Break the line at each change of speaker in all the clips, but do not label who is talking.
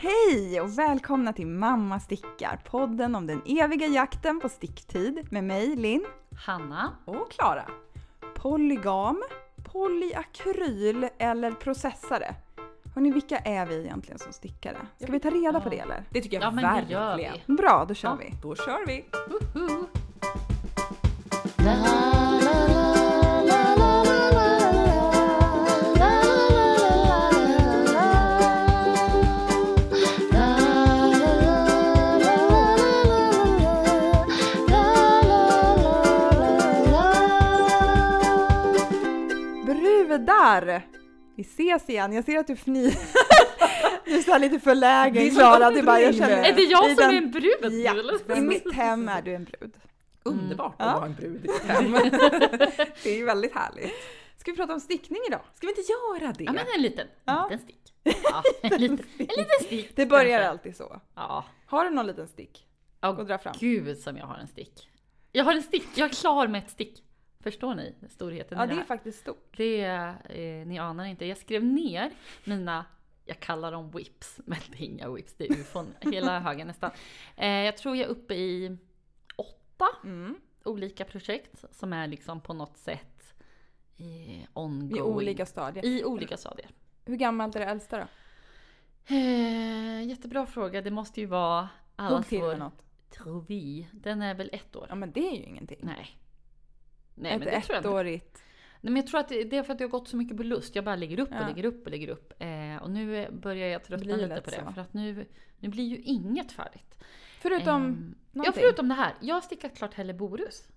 Hej och välkomna till Mamma stickar, podden om den eviga jakten på sticktid med mig Linn
Hanna.
och Klara. Polygam, polyakryl eller processare. Hörni, vilka är vi egentligen som stickare? Ska vi ta reda på det eller?
Det tycker jag
Ja, men det
verkligen.
gör vi.
Bra, då kör
Ja.
vi.
Då kör vi!
Woho!
Brudar! Vi ses igen, jag ser att du fnir. du är så här lite förlägen
Det är som
Klara.
en
Det är bara, jag
brud.
känner,
Är det jag
i
som
den-
är en brud nu
Ja,
eller?
I mitt hem är du en brud. Mm.
Underbart att
Ja.
ha en brud i sitt hem.
Det är ju väldigt härligt. Ska vi prata om stickning idag?
Ska vi inte göra det?
Ja men en liten,
Ja.
liten stick. Ja, en, liten, en liten stick.
Det börjar alltså.
kanske.
alltid så.
Ja.
Har du någon liten stick?
Åh,
Och dra fram.
Gud som jag har en stick. Jag har en stick, jag är klar med ett stick. Förstår ni storheten
Ja,
i det
det är
här?
faktiskt stort.
Det, eh, ni anar inte. Jag skrev ner mina, jag kallar dem whips, men det är inga whips, det är ufon, hela högen nästan. Eh, jag tror jag är uppe i åtta
Mm.
olika projekt som är liksom på något sätt eh, ongoing.
I olika stadier.
I olika stadier.
Hur gammalt är det äldsta då?
Eh, jättebra fråga, det måste ju vara
Hugg
allas
till med
vår
något.
trovi. Den är väl ett år?
Ja, men det är ju ingenting.
Nej. Nej, men det
Ett
tror jag inte.
ettårigt.
Nej, men jag tror att det det är för att det har gått så mycket på lust. Jag bara lägger upp och
Ja.
lägger upp och lägger upp. Eh, och nu eh, börjar jag tröttna
Blir
lite
lätt
på det.
så.
För att nu, nu blir ju inget färdigt.
Förutom
Ehm, ja,
någonting.
förutom det här. Jag har stickat klart Helleborus.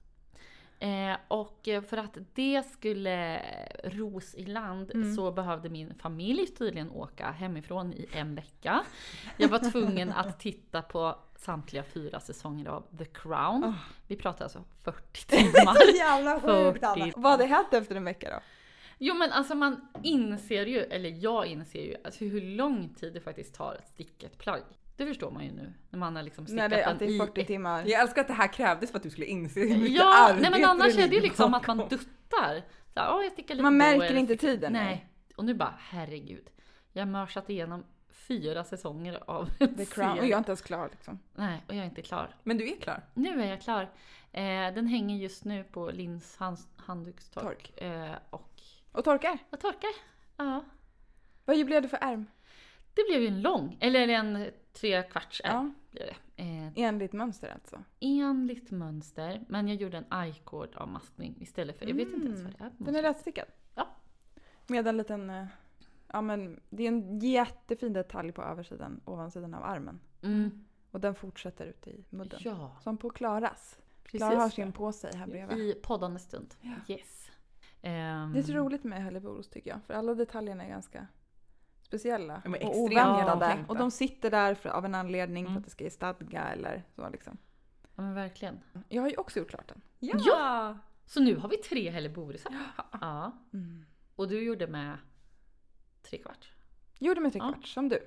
Eh, och eh, för att det skulle ros i land
Mm.
så behövde min familj tydligen åka hemifrån i en vecka. Jag var tvungen att titta på samtliga fyra säsonger av The Crown.
Ah.
Vi pratar alltså 40 timmar.
Jävla sjukt
40.
Anna. Vad hade hänt efter en vecka då?
Jo men alltså man inser ju, eller jag inser ju, alltså hur lång tid det faktiskt tar att sticka ett plagg. Det förstår man ju nu när man har liksom
När
stickat
det, att det
den
är
i
40
ett...
timmar.
Jag älskar att det här krävdes för att du skulle inse hur mycket
Ja,
arbete
nej men annars är det ju
ligger
liksom att
bakom.
man duttar. Så här, "Åh, jag stickar lite
Man
då,
märker
eller
inte
stickar-"
tiden.
Nej. Och nu bara, herregud. Jag har mörsat igenom fyra säsonger av en
The Crown. Och
serie.
jag är inte ens klar liksom.
Nej, och jag är inte klar.
Men du är klar.
Nu är jag klar. Eh, den hänger just nu på Linns hands- handdukstork.
Tork.
Eh, och
Och torkar.
jag torkar. Ja.
Vad blev det för ärm?
Det blev ju en lång, eller en tre kvarts ärm
Ja,
blev det. Eh,
enligt mönster alltså.
enligt mönster, men jag gjorde en I-cord av maskning istället för, jag vet inte ens vad det är.
Den är lättstickad.
Ja.
Med en liten... eh, Ja men det är en jättefin detalj på översidan, ovansidan av armen.
mm.
Och den fortsätter ute i mudden.
Ja,
Som på Klaras. Klara har
precis. Mm.
sin på sig här bredvid.
I poddande stund. Yes. Ehm,
Det är så roligt med Helleborus tycker jag, för alla detaljerna är ganska speciella
Ja, men
och
extremt
oväntade.
genomtänkta.
Och de sitter där för, av en anledning, för
Mm.
att det ska ge stadga eller så liksom.
Ja men verkligen.
Jag har ju också gjort klart den.
Ja!
Så nu har vi tre Helleborusar. Ja.
Mm.
Och du gjorde med tre kvart.
Gjorde mig
Ja. Mm.
trekvarts, som du.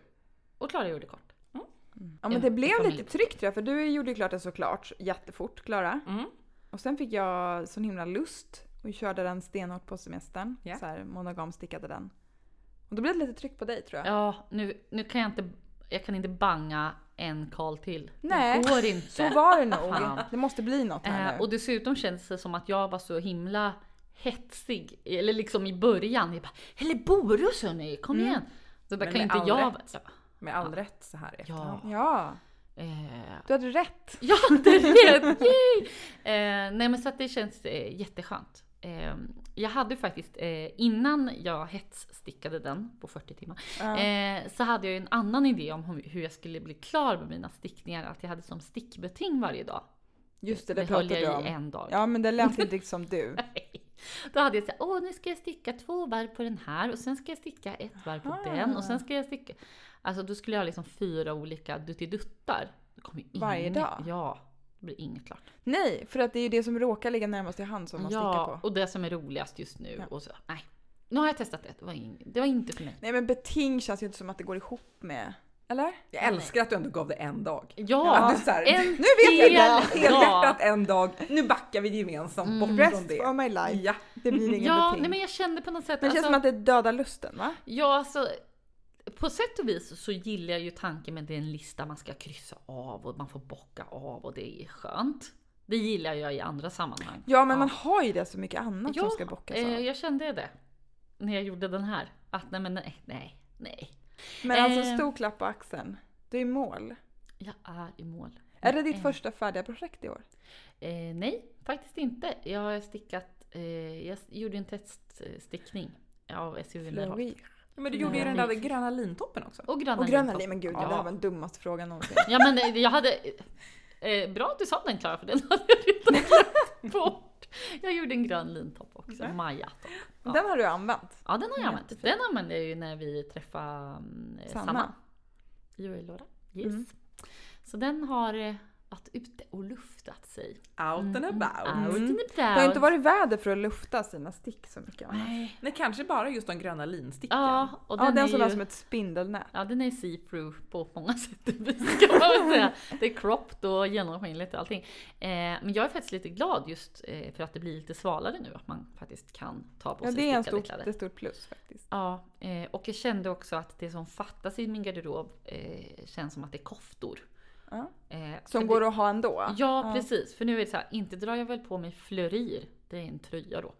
Och Klara gjorde kort.
Ja men
Ja,
det blev
familj.
lite tryck tror jag, för du gjorde ju klart den såklart jättefort, Klara.
Mm.
Och sen fick jag sån himla lust och körde den stenhårt på semestern.
Ja.
Så här, monogam stickade den. Och då blev det lite tryck på dig tror jag.
Ja, nu, nu kan jag inte, jag kan inte banga en karl till.
Nej,
Det går inte.
Så var det nog.
Fan.
Det måste bli något här
Eh,
nu.
och dessutom kändes det som att jag var så himla hetsig, eller liksom i början. Jag bara, Helleborus hörni, kom
Mm.
igen! Så bara,
Men
kan
med
inte
all
jag...
rätt. Med all rätt så här i
Ja.
efterhand.
Ja,
Eh,
du hade rätt.
ja, det är rätt! Yay! Eh, nej men så att det känns eh, jätteskönt. Eh, jag hade ju faktiskt, eh, innan jag hetsstickade den på 40 timmar,
Ja.
Eh, så hade jag ju en annan idé om hur- hur jag skulle bli klar med mina stickningar. Att jag hade som stickbeting varje dag.
Just det, det
höll
pratade
jag i
du om.
en dag.
Ja, men det lät inte riktigt som du.
Då hade jag såhär, åh nu ska jag sticka två varv på den här och sen ska jag sticka ett varv på
Aha.
den och sen ska jag sticka... Alltså då skulle jag ha liksom fyra olika duttiduttar. Det kommer ju
Varje
inget,
dag?
Ja. Det blir inget klart.
Nej, för att det är ju det som råkar ligga närmast i hand som man stickar
ja,
på.
och det som är roligast just nu.
Ja.
Och så, nej. Nu har jag testat det. Det var, ing- det var inte för mig.
Nej, men beting känns ju inte som att det går ihop med... Eller?
Jag älskar att du ändå gav det en dag.
Ja,
du så här,
en
nu vet jag det! Mm.
hel dag.
Helhjärtat en dag. Nu backar vi gemensamt bort
Mm.
från
Rest
det.
for my life.
Ja.
Det blir inget
Ja, alltså-
beting.
nej men jag kände på något sätt...
Men det känns
alltså-
som att det dödar lusten va?
Ja, alltså På sätt och vis så gillar jag ju tanken med att det är en lista man ska kryssa av och man får bocka av och det är skönt. Det gillar jag i andra sammanhang.
Ja, men man har ju det så mycket annat som ska bockas
eh,
av.
jag kände det. När jag gjorde den här. Att nej, men nej, nej, nej.
Men alltså
eh.
stor klapp på axeln. Du är i mål.
Jag är i mål.
Är det ditt
Eh.
första färdiga projekt i år?
Eh, nej, faktiskt inte. Jag har stickat, eh, jag gjorde en teststickning av SUV Underhåll.
Fleury.
Men du gjorde ju den där gröna lintoppen också.
Och gröna
Och gröna
lintopp.
linjen, men gud
ja.
det här var den dummaste frågan någonsin.
Ja men eh, jag hade... Eh, bra att du sa den Klara, för den hade jag redan glömt bort. Jag gjorde en grön lintopp också,
Mhm.
Maja-topp. Ja.
Den har du använt.
Ja den har jag använt. Den använde jag ju när vi träffade mm, eh,
Sanna.
Sanna. I jullåda. Yes.
Mm.
Så den har eh, varit ute och luftat sig.
Out and
Mm,
about.
Out
Mm.
and about.
Det har ju inte varit väder för att lufta sina stick så mycket. annars.
Nej.
Nej, kanske bara just de gröna linstickan.
Ja, och den,
ja, den
är
som
ju...
var som ett spindelnät.
Ja, den är see-through på många sätt och vis, kan man väl säga. Det är cropped och genomskinligt och allting. Eh, men jag är faktiskt lite glad just eh, för att det blir lite svalare nu. Att man faktiskt kan ta på
Ja,
sig
det är en
stickade
stort,
kläder.
ett stort plus faktiskt.
Ja, eh, och jag kände också att det som fattas i min garderob eh, känns som att det är koftor.
Ja.
Eh, för
Som går att ha ändå.
det, Ja, precis. För nu är det så här, inte drar jag väl på mig fleurir, det är en tröja då,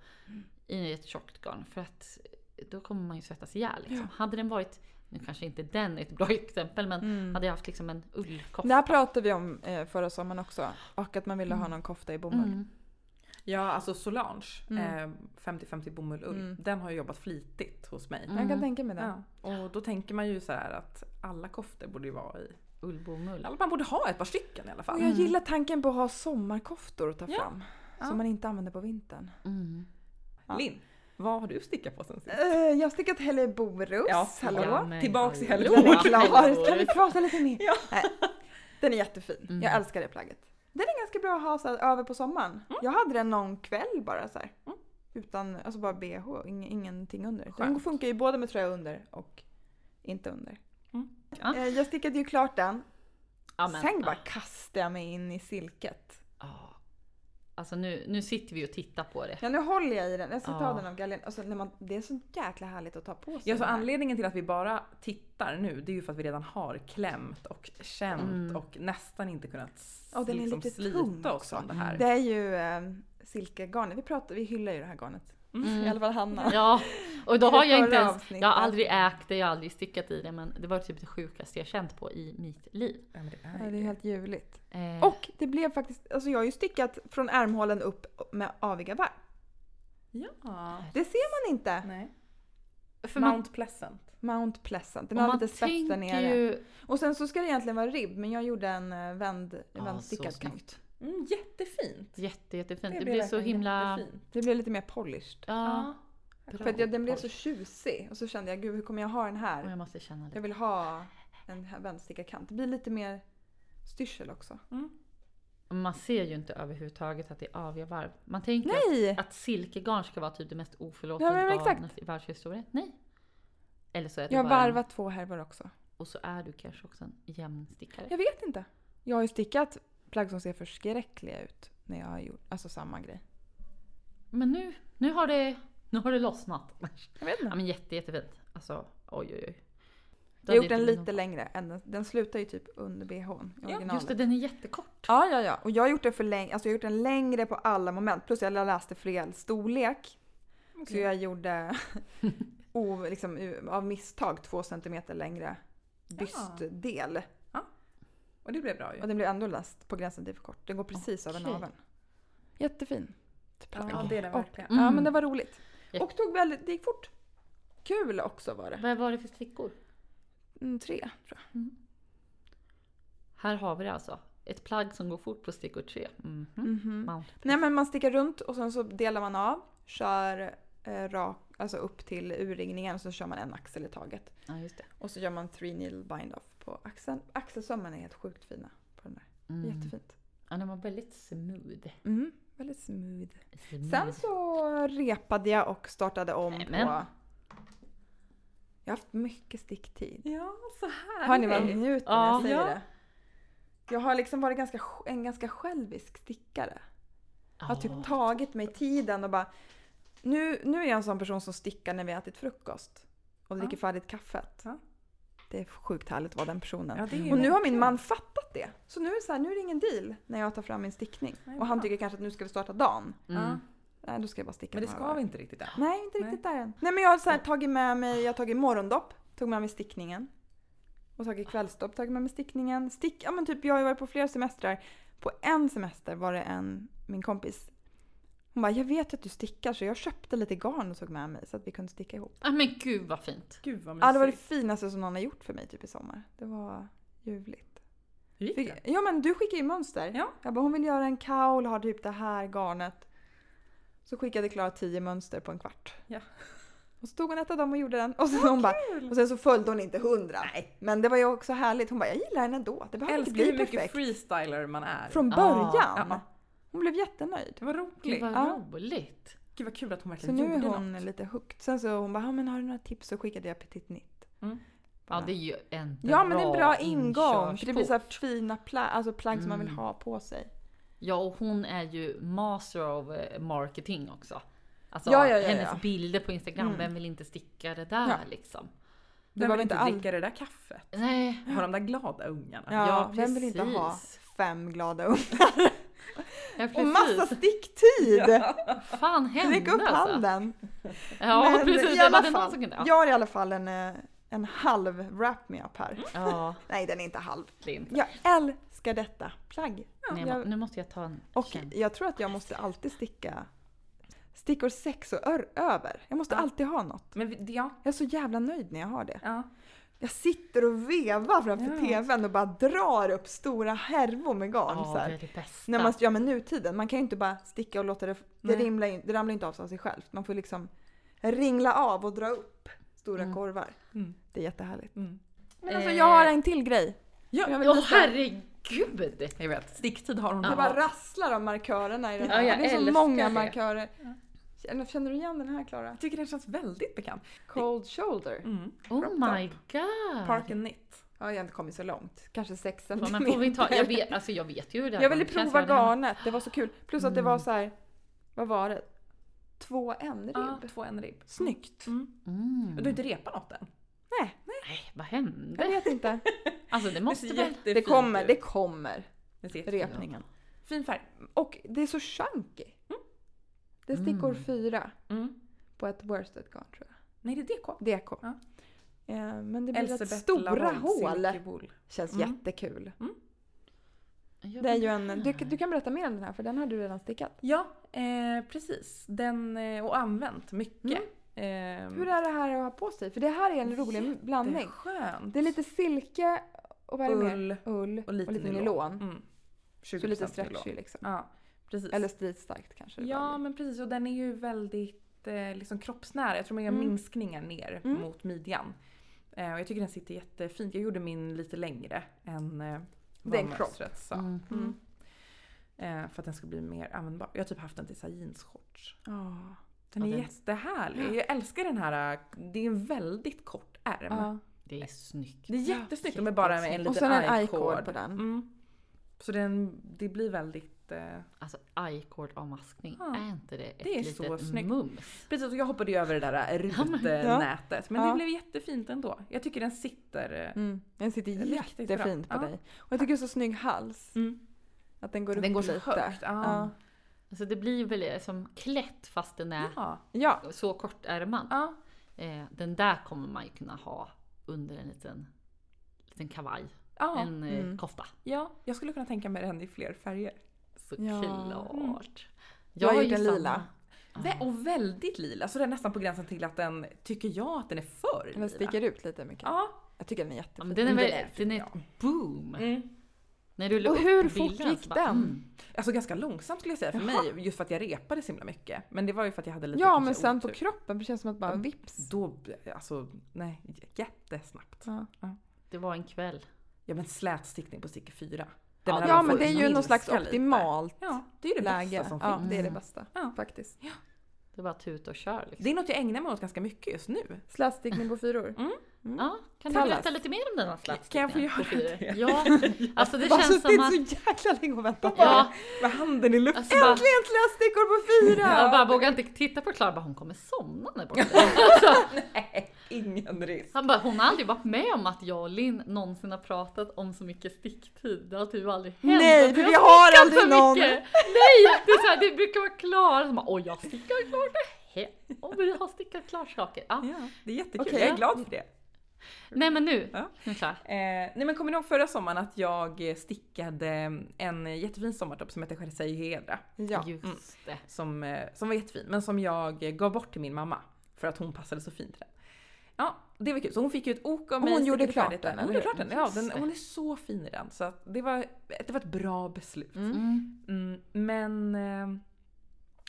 i ett tjockt garn. För att då kommer man ju svettas ihjäl. Liksom. Hade den varit, nu kanske inte den är ett bra exempel, men hade jag haft liksom en ullkofta.
Mm. Det här pratade vi om eh, förra sommaren också. Och att man ville ha någon kofta i bomull.
Mm.
Ja, alltså Solange, eh, 50-50 bomull-ull, den har ju jobbat flitigt hos mig.
Jag
Mm.
kan tänka mig det.
Mm. Ja. Och då tänker man ju så här att alla koftor borde ju vara i...
Ullbomull.
Eller man borde ha ett par stycken i alla fall.
Och jag gillar tanken på att ha sommarkoftor att ta
Ja.
fram.
Ja.
Som man inte använder på vintern.
Mm.
Ja.
Linn, vad har du stickat på sen sist?
Eh, jag har stickat Helle Borus.
Ja,
Hallå?
Ja, men
Tillbaks i
hallå.
Hellborg.
Jag är klar. Kan vi
Hellborg.
prata lite mer?
Ja.
Nej. Den är jättefin.
Mm.
Jag älskar det plagget. Den är ganska bra att ha så här, över på sommaren. Jag hade den någon kväll bara så här.
Mm.
Utan, alltså bara bh, ing, ingenting under. Den
Skönt.
funkar ju både med tröja under och inte under.
Mm.
Ja.
Eh, Jag stickade ju klart den.
Ja, men-
Sen bara kastade jag mig in i silket.
Ja. Alltså nu, nu sitter vi och tittar på det.
Ja nu håller jag i den. Jag ska ta
Ja.
den av galgen. Alltså, när man, det är så jäkla härligt att ta på sig.
Ja, så
den här.
anledningen till att vi bara tittar nu det är ju för att vi redan har klämt och känt
Mm.
och nästan inte kunnat s- liksom
Ja, den är lite tung
slita oss
också.
från det här.
Det är ju eh, silkegarnet. Vi, pratar, vi hyllar ju det här garnet.
Mm.
Mm. I alla fall Hanna.
Ja, och då
I det
har jag inte
förra
ens,
avsnittet.
jag har aldrig ägt det, jag har aldrig stickat i det men det var typ det sjukaste jag känt på i mitt liv.
Ja, men det
Ja,
är
det
ju
är
det.
helt ljuvligt.
Eh,
Och det blev faktiskt, alltså jag har ju stickat från ärmhålen upp med aviga varv.
Ja.
Det ser man inte.
Nej.
för man,
Mount Pleasant.
Mount Pleasant. Den
och
har
man
lite spets där
tänker
nere.
ju...
Och sen så ska det egentligen vara ribb men jag gjorde en eh, vänd,
Ja,
vändstickad
så
kant.
Mm, jättefint.
Jätte, jättefint. Det, blir så
verkligen
himla...
jättefint.
Det blev lite mer polished.
Ja,
För att jag, den blev så tjusig och så kände jag gud hur kommer jag ha den
och
här?
jag måste känna
Jag
lite.
vill ha en här vändstickad kant. Det blir lite mer styrsel också.
Man ser ju inte överhuvudtaget att det är aviga varv. Man tänker
Nej!
att, att silkegarn ska vara typ det mest
Ja,
oförlåtliga
men
garnet
exakt.
i varvshistorien. Nej. Eller så är det
Jag har
bara en-
varvat två härvor också.
Och så är du kanske också en jämnstickare.
Jag vet inte. Jag har ju stickat plagg som ser förskräckliga ut när jag har gjort alltså samma grej.
Men nu, nu har det, nu har det lossnat.
Jag vet
Ja
inte.
men jätte, jättefint. Alltså oj oj oj.
Jag har gjort den
Hade inte
lite längre. än Den, den slutar ju typ under bhn. i
någon- Ja,
originalet.
just det, den är jättekort.
Ja, ja, ja. Och jag har gjort den för länge. Alltså jag har gjort den längre på alla moment. Plus jag läste fel storlek. Så jag gjorde o, liksom, u- av misstag två centimeter längre bystdel.
Och det blev bra ju.
Och den blev ändå läst på gränsen till för kort. Den går precis över
Okej.
naveln. Jättefin.
Ja, det är det
Och-
verkligen.
Ja,
Mm.
men det var roligt.
Ja.
Och tog väldigt, det gick fort. Kul också var det.
Vad var det för stickor?
Mm, tre, tror jag.
Här har vi det alltså. Ett plagg som går fort på stickor tre. Mhm.
Mm.
Mount.
Nej, men man stickar runt och sen så delar man av. Kör eh, rak, alltså upp till urringningen och så kör man en axel i taget.
Ja just det.
Och så gör man three needle bind off på axeln. Axelsömmarna är helt sjukt fina på den där.
Mm.
Jättefint.
Ja den var väldigt smooth.
Mm, väldigt smooth.
smooth.
Mm.
Sen så repade jag och startade om
Nämen.
på... Jag har haft mycket sticktid.
Ja, så här.
Hör ni vad jag njuter när
Ja.
jag säger
Ja.
det? Jag har liksom varit ganska, sj- en ganska självisk stickare. Jag har typ tagit mig tiden och bara... Nu, nu är jag en sån person som stickar när vi har ätit frukost. Och dricker färdigt kaffet.
Ja.
det är sjukt härligt att vara den personen.
Ja, det är ju
Och nu har min
verkligen-
man fattat det. Så nu är det så här, nu är det ingen deal när jag tar fram min stickning.
Nej,
Och han
bra.
tycker kanske att nu ska vi starta dagen.
Mm.
Ja.
Nej, då ska jag bara sticka
Men det
några
ska
varv.
vi inte riktigt än.
Nej, inte riktigt där än. Nej men jag har så här tagit med mig, jag har tagit morgondopp, tog med mig stickningen. Och tagit kvällsdopp, tagit med mig stickningen. Stick, ja men typ jag har ju varit på flera semestrar. På en semester var det en, min kompis. Hon bara, jag vet att du stickar så jag köpte lite garn och tog med mig så att vi kunde sticka ihop.
Ah, men gud vad fint.
Gud vad mysigt.
Ja det var det finaste som någon har gjort för mig typ i sommar. Det var ljuvligt.
Hur gick
Fick,
det?
ja men du skickade ju mönster.
Ja.
Jag bara, hon vill göra en kaul, har typ det här garnet. Så skickade Klara tio mönster på en kvart.
Ja.
Och så tog hon ett av dem och gjorde den. Och sen, hon bara, och sen så följde hon inte hundra.
Nej.
Men det var ju också härligt. Hon bara, jag gillar den ändå. Det behöver inte
Älskar hur
bli
mycket
perfekt.
freestyler man är.
Från
Ah,
början.
ja.
Hon blev jättenöjd.
Det var
Gud
roligt.
vad
Ja.
roligt.
Gud vad kul att hon
Så
verkligen
nu är
gjorde
hon
något.
lite hooked. Sen så hon bara, "Ja, men har du några tips? Så skickade jag Petit Nitt.
Mm.
Ja det är ju en bra
Ja men det är en bra ingång. För det blir
inkörsport.
så här fina plagg, alltså plagg som man vill
Mm.
ha på sig.
Ja och hon är ju master of eh, marketing också. Alltså
Ja, ja, ja,
hennes
ja.
bilder på Instagram,
Mm.
vem vill inte sticka det där
Ja.
liksom?
Det
Vem
var
vill
inte
inte
all-
dricka det där kaffet?
Nej,
Har de där glada ungarna?
Ja,
Ja,
vem vill inte ha
precis.
fem glada ungar?
ja,
Och
precis.
massa sticktid!
Fan hände
Räck upp
alltså.
handen!
Ja
Men
precis,
i
det
alla
var det någon
fall,
som kunde. Ja.
Jag har i alla fall en, eh, en halv wrap me up här.
Mm. Ja,
Nej, den är inte halv.
Klint.
Jag älskar detta plagg.
Nej,
jag-
jag... Nu måste jag ta en
Och
känn.
jag tror att jag måste alltid sticka stickor sex och ör- över. Jag måste
Ja.
alltid ha något.
Men vi, det- ja.
Jag är så jävla nöjd när jag har det.
ja.
Jag sitter och vevar framför
Ja.
TVn och bara drar upp stora härvor med garn.
Ja,
så här.
det är det bästa.
När man, ja men nutiden, man kan ju inte bara sticka och låta det, det,
Nej.
rimla in, det ramlar ju inte av sig av sig självt. Man får liksom ringla av och dra upp stora
Mm. Eh,
korvar.
Mm.
Det är jättehärligt.
Mm.
Men alltså jag har en till grej.
Ja,
jag vill
Ja
visa-
herregud!
Jag vet, sticktid har hon.
Ja.
Det
Ja.
bara rasslar av markörerna i den
Ja,
här.
jag
det är så
älskar
många
det.
markörer. Känner, känner du igen den här Klara?
Jag tycker den känns väldigt bekant.
Cold shoulder.
Mm.
Oh
Crop
my god!
Park and knit.
Ja, jag har inte kommit så långt. Kanske sex
Ja,
centimeter.
men får vi ta, jag, vet, alltså jag vet ju hur det här
Jag ville
går. Kan
prova
säga det Mm. här?
garnet, det var så kul. Plus att det var så här, vad var det? Två en ribb.
Ja, Mm. två en ribb.
Snyggt.
Mm.
Mm.
Och Du har inte repat något än?
Nej,
Nej, vad hände?
jag vet inte.
Alltså det måste
ser
väl...
Det
jättefint
kommer,
ut.
det kommer.
Det ser jättefint ut.
Repningen.
Fin färg.
Och det är så chunky. Det är stickor
Mm.
fyra
Mm.
på ett worsted garn tror jag.
Nej, det är DK.
DK.
Ja.
Eh, men det blir rätt
Elsebeth
stora
Laholm,
hål.
Silky Wool.
Känns
Mm.
jättekul.
Jag
Det är
vet
ju en, du,
inte.
du kan berätta mer om den här för den har du redan stickat.
Ja, eh, precis. Den, eh, och använt mycket. Eh,
Mm. Hur är det här att ha på sig? För det här är en rolig blandning.
Jätteskönt.
Det är lite Mm. silke och vad är det mer?
Ull.
Ull
och lite nylon.
nylon.
Mm.
Så
20%
lite
nylon.
stretchy liksom.
Ja, precis.
Eller stridstarkt kanske det bara
ja,
blir.
men precis. Och den är ju väldigt eh, liksom kroppsnära. Jag tror man gör
Mm.
minskningar ner
Mm.
mot midjan. Eh, och jag tycker den sitter jättefint. Jag gjorde min lite längre än eh,
Det är en
vad
kropp.
mönstret sa.
Mm.
Mm. Eh, för att den ska bli mer användbar. Jag har typ haft den till så här jeansshorts.
Ah.
Den
Ja,
är
den-
jättehärlig. Jag älskar den här. eh, Det är en väldigt kort ärm.
Ja.
Det är snyggt.
Det är
Ja,
jättesnyggt. De är bara med en
jättesnyggt.
liten
Och sen en
i-cord.
i-cord på den.
Mm. Så den, det blir väldigt... Eh,
Alltså I-cord-avmaskning,
Ja.
är inte det ett
Det är
litet
så snyggt.
mums?
Precis, och jag hoppade ju över det där eh,
Ja.
rutnätet. Men
Ja.
det blev jättefint ändå. Jag tycker den sitter... eh,
Mm. Den sitter
Riktigt bra.
jättefint på
Ja.
dig. Och jag tycker det är så snygg hals.
Mm.
Att den går
Den
upp
går så
lite.
högt.
Ja.
Ja.
Alltså det blir väl som klätt fast den är
Ja.
Ja.
så kortärmad.
ja.
Eh, den där kommer man ju kunna ha under en liten, liten kavaj.
ja.
en eh,
Mm.
kofta.
ja. Jag skulle kunna tänka mig den i fler färger. Mm.
Såklart.
Jag har
är
gjort
ju
en
samma.
lila.
Vä- Och väldigt lila. Så den är nästan på gränsen till att den, tycker jag, att den är för lila.
Den sticker ut lite mycket.
Ja.
Jag tycker den är
Ja,
jättefin.
men den är
Den
väl
är
den är
fin,
ett boom.
Mm.
När du la
Och
upp
hur fort
bilden
gick
så bara,
den?
mm.
Alltså ganska långsamt skulle jag säga för
Jaha.
mig. Just för att jag repade så himla mycket. Men det var ju för att jag hade lite typ. Mm.
Ja,
kanske
men sen på
otur.
kroppen det känns som att bara vips.
Då, alltså nej, jättesnabbt.
Ja,
Det var en kväll.
Ja men slätstickning på stick 4.
Ja, Ja,
menar,
ja
man
men
får
det är ju
minska
någon slags
lite.
optimalt
Ja, det är ju det
läge.
bästa som
Ja,
finns.
det är det
Mm.
bästa
Ja.
faktiskt.
Det var tut och kör. Liksom.
Det är något jag ägnar mig åt ganska mycket just nu.
Slätstickning på fyror.
Ja, kan du
Kallas.
berätta lite mer om den här slatsen?
Kan jag få göra det?
Ja, alltså det
Jag har
känns som att...
suttit så jäkla länge och väntat på det.
Ja,
Med handen i luften.
alltså bara,
Äntligen slätstickor på fyra!
jag bara vågar inte titta på Klara, bara, hon kommer somna där borta. Alltså,
ingen risk.
Han bara, hon har aldrig varit med om att jag och Linn någonsin har pratat om så mycket sticktid. Det har typ aldrig hänt.
Nej,
att
för
vi
vi har
stickat
aldrig
så
någon.
mycket. Nej, det, är så här, det brukar vara klart. Så bara, Oj, jag stickar klart det här. Och vi har stickat klart saker.
Mm.
Ja.
Ja, det är jättekul.
Okej.
Jag är glad för det.
Nej men nu.
Ja.
Nu är det klart.
Eh, nej men kommer ni ihåg förra sommaren att jag eh, stickade en jättefin sommartopp som hette Jersey Hedra.
Ja.
Just det.
Som, eh, som var jättefin, men som jag gav bort till min mamma. För att hon passade så fint i den. Ja, det var kul. Så hon fick ju ett ok av
Och
mig.
hon gjorde
stickade
klart
färdigt
den,
Hon
eller
gjorde
hur?
klart den. Ja, den,
Just det.
hon är så fin i den. Så att det, var, det var ett bra beslut.
Mm.
Mm.
Mm, men... eh,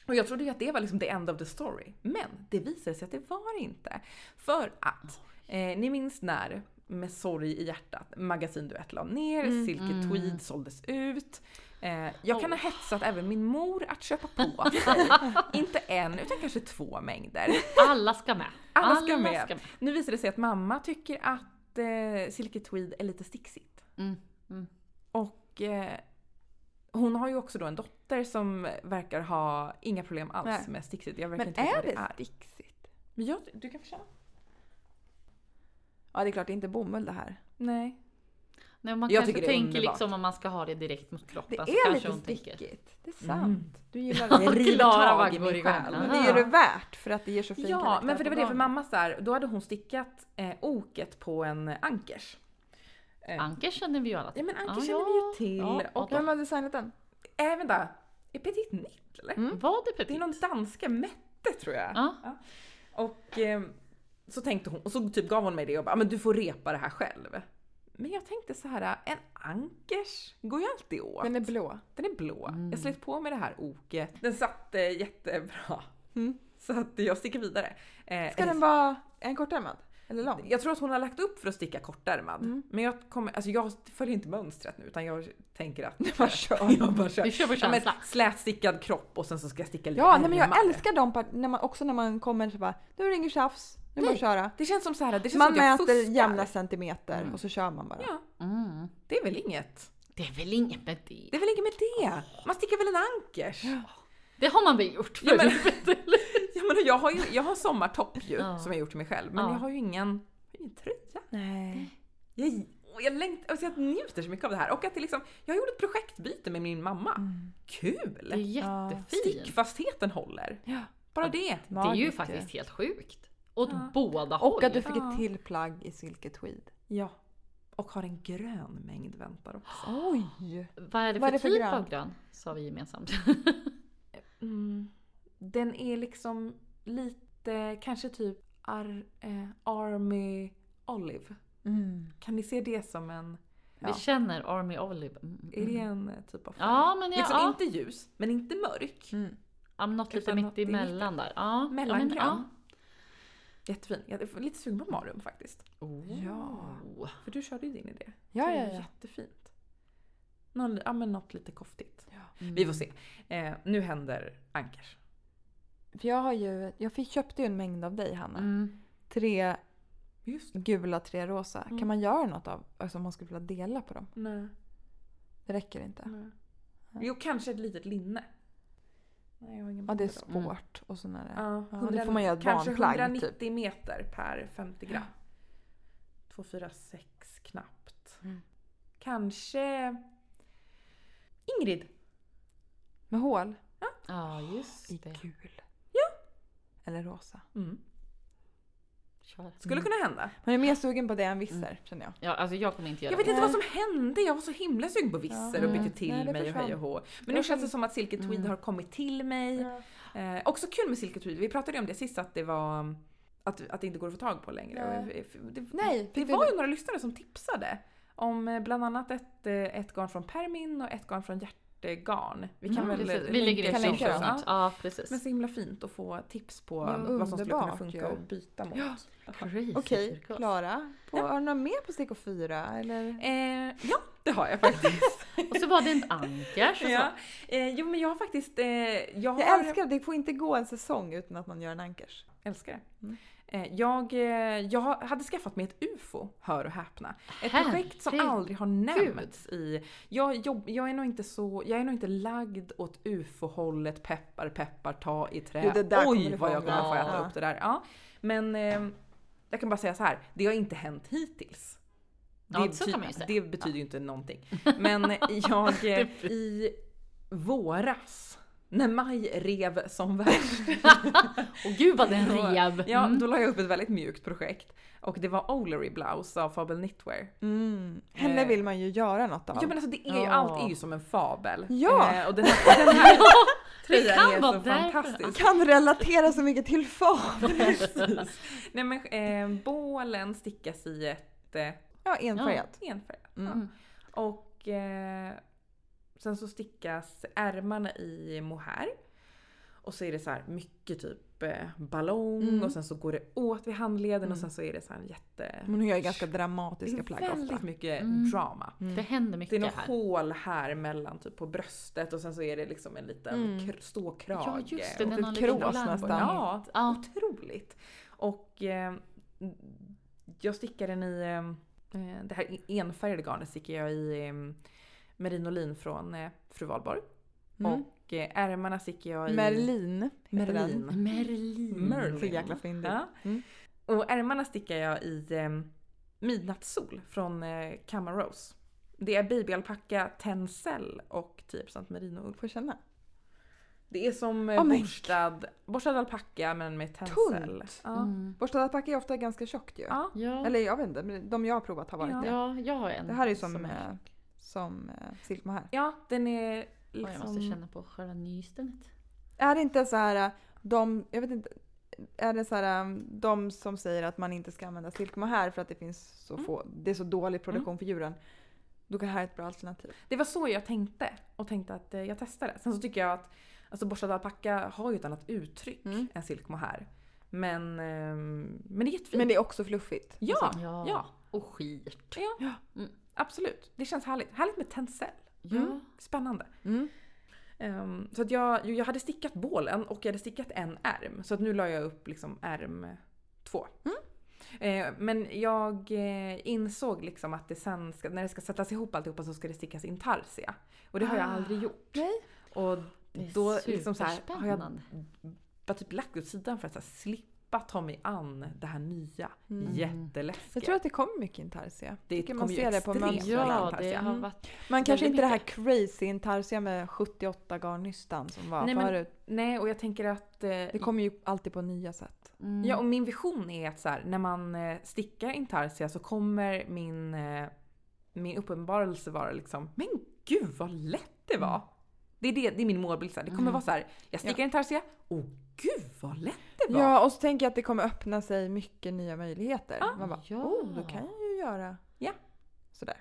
Och jag trodde ju att det var liksom the end of the story. Men det visade sig att det var det inte. För att, eh, ni minns när med sorg i hjärtat, Magasin Duett la ner,
Mm.
Silke
Mm.
Tweed såldes ut. Eh, jag kan
Oh.
ha hetsat även min mor att köpa på sig. inte en, utan kanske två mängder.
Alla ska med.
Alla ska med. Nu visar det sig att mamma tycker att eh, Silke Tweed är lite sticksigt.
Mm. Mm.
Och eh, hon har ju också då en dotter som verkar ha inga problem alls
Nej.
med sticksigt. Jag verkar
Men
inte veta
är
vad
det
är.
sticksigt?
Men jag, du kan få känna.
Ja, det är klart det är inte bomull det här.
Nej.
Nej, man
Jag
kanske
tycker det är
tänker
underbart.
liksom om man ska ha det direkt mot kroppen.
Det
så
är
kanske
lite
hon tänker.
stickigt. Det är sant.
Mm.
Du gillar det.
Det river
Klara
tag i
går
min
igång.
själ.
Men det är ju det värt för att det ger så fin
Ja,
karaktär
men för det
på
var det för
garnet.
mamma så här, då hade hon stickat eh, oket på en ankers.
Anker känner vi ju alla till.
Ja men anker
Ah,
känner
ja.
vi ju till.
Ja,
och
ja.
Vem har designat den?
äh, vänta, är Petit Nit eller?
Mm.
Var det
Det är
petit?
någon danska, Mette tror jag.
Ja.
Och eh, så tänkte hon, och så typ gav hon mig det och bara, men du får repa det här själv. Men jag tänkte så här, en ankers går ju alltid åt.
Den är blå.
Den är blå.
Mm.
Jag slet på med det här oket. Den satt eh, jättebra.
Mm.
Så att jag sticker vidare. Eh,
Ska den vara en kortärmad? Eller lång?
jag tror att hon har lagt upp för att sticka kortärmad.
Mm.
Men jag, kommer, alltså jag följer inte mönstret nu utan jag tänker att...
Vad kör.
jag bara kör.
Vi kör på
Ja, men
känsla.
slätstickad kropp och sen så ska jag sticka lite
Ja, nej, men jag
ärmar.
älskar de part- när man, också när man kommer så bara, nu är det ingen tjafs, nu är det bara att köra.
Det känns som så här, det känns
Man
som att jag
mäter
fuskar.
jämna centimeter
Mm.
och så kör man bara.
Ja,
Mm.
det är väl inget.
Det är väl inget med det.
Det är väl inget med det? Man stickar väl en ankers?
Det har man väl gjort
Ja, men-
helvete, eller?
Jag, menar, jag har ju jag har en sommartopp ju,
Ja.
som jag gjort till mig själv. Men
Ja.
jag har ju ingen, jag har ingen tröja.
Nej.
Jag, och jag, längt, alltså jag njuter så mycket av det här. Och att det liksom, jag gjorde ett projektbyte med min mamma.
Det är
Kul!
jättefint.
Stickfastheten håller.
Ja.
Bara
Ja.
det.
Det är ju faktiskt helt sjukt. Åt
Ja.
båda håll.
Och att du fick
Ja.
ett till plagg i silke tweed.
Ja. Och har en grön mängd väntar också.
Oj!
Vad är det för,
Vad är det för
typ
grön?
av grön? Sa vi gemensamt.
Mm. Den är liksom lite, kanske typ ar, eh, Army Olive. Kan ni se det som en,
Vi
Ja.
känner Army Olive. Mm,
är det
mm.
en eh, typ av färg?
Ja men jag,
Liksom
ja.
inte ljus, men inte mörk.
Mm.
I'm not lite
utan
mitt
något i
emellan där. Ja. ja, men,
Mellangrön.
ja.
Jättefin. Jag är lite sugen på Marium faktiskt.
Oh.
Ja. För du körde ju din idé.
Ja,
Det
ja,
är
ja.
Jättefint. Någon, ja, men något lite koftigt.
Mm.
Vi får se. Eh, nu händer ankers.
För jag har ju, jag fick, köpte ju en mängd av dig Hanna.
Mm.
Tre
Just
gula, tre rosa.
Mm.
Kan man göra något av, alltså om man skulle vilja dela på dem?
Nej.
Det räcker inte.
nej. Jo, kanske ett litet linne. Nej, jag har ingen
Ja, det är
bild av dem.
Mm.
sport och sån där.
Ja,
Ja, det får man göra ett
kanske
barnplagg, typ.
190 meter per 50 gram. 246 knappt.
Mm.
Kanske Ingrid.
Med hål
Ja
i
just det.
gul. Eller rosa.
Kör.
Skulle
Mm.
kunna hända.
Man är mer sugen på det
Mm.
än visser, känner jag.
Ja, alltså jag kommer inte göra
Jag vet
det.
inte vad som hände, jag var så himla sugen på visser
Ja.
och bytte
Mm.
till
Nej, det
mig och
försvann.
hej och hå. Men
Jag
nu
känner-
känns det som att Silke Tweed
Mm.
har kommit till mig. Eh, också kul med Silke Tweed, vi pratade ju om det sist att det var att, att det inte går att få tag på längre.
Nej.
Och vi- Det,
Nej,
det
fick du
var ju några lyssnare som tipsade om eh, bland annat ett, eh, ett garn från Permin och ett garn från Hjärtegarn. Vi kan
Mm,
väl
precis. Vi lägger
kan
ut
länka
show
dem.
notes.
Ja.
Ja
Men
precis.
så himla fint att få tips på
Ja,
vad som skulle kunna
underbart
funka
ju.
och byta mot.
Ja.
Crazy
Okej,
cirkus.
Klara. På, Har du något mer på stickor 4? Eller?
Eh, ja, det har jag faktiskt.
Och så var det en ankers och så.
ja. eh, jo men jag har faktiskt... Eh, jag, har...
Jag älskar det, det får inte gå en säsong utan att man gör en ankers.
älskar det.
Mm.
Eh, Jag, eh, jag hade skaffat mig ett UFO, hör och häpna. Ett projekt som
Herregud.
aldrig har nämnts i... Jag, jobb, jag, är nog inte så, jag är nog inte lagd åt UFO-hållet, peppar peppar ta i trä.
Jo, det där kommer
Oj
du
vad
få
jag kommer få
ångra.
äta
Ja.
upp det där. Ja. Men eh, Jag kan bara säga så här, det har inte hänt hittills.
Ja,
det, typ-
så kan man ju säga.
det betyder ju inte någonting. Men jag eh, i våras, när maj rev som värst,
Och gud vad den
Ja.
rev!
ja,
Mm.
då la jag upp ett väldigt mjukt projekt. Och det var Olery Blouse av Fabel Knitwear.
Mm. Henne
Eh.
vill man ju göra något av.
Ja men alltså det är ju,
Ja.
allt är ju som en fabel.
Ja.
Eh, och den här, den här
kan
tröjan är
vara
så
därför.
fantastisk.
Kan relatera så mycket till far.
Mm.
Precis. Nej men eh, bålen stickas i ett eh,
Ja, enfärgat.
enfärgat.
Mm.
Ja. Och eh, sen så stickas ärmarna i mohair. Och så är det så här mycket typ eh, ballong
Mm.
och sen så går det åt vid handleden
Mm.
och sen så är det så här jätte...
Men hon gör ju ganska
Det
dramatiska
är
plagg ofta.
väldigt mycket
Mm.
drama.
Det händer
Det är
mycket
något
här.
hål här mellan typ på bröstet och sen så är det liksom en liten
Mm.
kr- ståkrage.
Ja just det,
och- typ
den har
krås
lite
nästan.
Ja,
Ja.
otroligt. Och eh, jag stickar den i, eh, det här enfärgade garnet stickar jag i eh, merinolin från eh, Fru Valborg.
Mm.
Och eh, ärmarna stickar jag i
Merlin heter den.
Merlin.
Merlin.
Merlin.
Så jäkla fyndigt.
Ja.
Mm.
Och ärmarna stickar jag i eh, Midnattssol från eh, Camarose. Det är babyalpacka, tencel och 10% merinoull.
Får känna.
Det är som eh,
Oh my
borstad, borstad alpacka men med tencel.
Tunt.
Ja.
Mm.
Borstad alpacka är ofta ganska tjockt ju.
Ja.
Ja.
Eller jag vet inte, men de jag har provat har varit
Ja.
det.
ja, jag har en.
Det här är ju som,
är-
eh, som eh, silkmohair.
ja, den är
Oj, Jag måste
liksom...
känna på själva nystenet.
Är det inte så här, eh, de, jag vet inte, är det så här, eh, de som säger att man inte ska använda silkmohair för att det finns så
Mm.
få, det är så dålig produktion för djuren. Då kan det här vara ett bra alternativ.
Det var så jag tänkte och tänkte att eh, jag testar det. Sen så tycker jag att alltså, borstad alpacka har ju ett annat uttryck
Mm.
än silkmohair. Men, ehm, men det är jättefint.
Men det är också fluffigt.
ja,
Ja.
ja,
Och skit.
absolut. Det känns härligt. Härligt med tencel.
Ja.
Mm. Spännande.
Mm.
Ehm, så att jag, jo, jag hade stickat bålen och jag hade stickat en ärm. Så att nu la jag upp liksom ärm två.
Mm.
Eh, men jag eh, insåg liksom att det sen ska, när det ska sättas ihop alltihopa så ska det stickas intarsia. Och det har jag
Ah.
aldrig gjort.
Nej.
Och
Det är
då liksom så här, har jag
superspännande.
bara typ lagt åt sidan för att så här, slippa ta mig an det här nya.
Mm.
Jätteläskiga.
Jag tror att det kommer mycket intarsia.
det
tycker man
kommer ju
ser det på
extremt
mönstret.
mycket
Ja, det
intarsia.
har
Mm.
varit...
Man kanske inte
Väldigt
det här crazy intarsia med 78 garnnystan som var
Nej, men-
förut.
Nej, och jag tänker att... eh,
Det kommer ju alltid på nya sätt.
Mm.
Ja, och min vision är att så här, när man eh, stickar intarsia så kommer min, eh, min uppenbarelse vara liksom “men gud vad lätt det var”. Det, är det, det är min målbild. Så här. Det kommer
Mm.
vara så här, jag stickar intarsia, åh gud vad lätt det var.
Ja, och så tänker jag att det kommer öppna sig mycket nya möjligheter.
Ah,
Man bara,
ja.
oh, då kan jag ju göra
Ja.
sådär.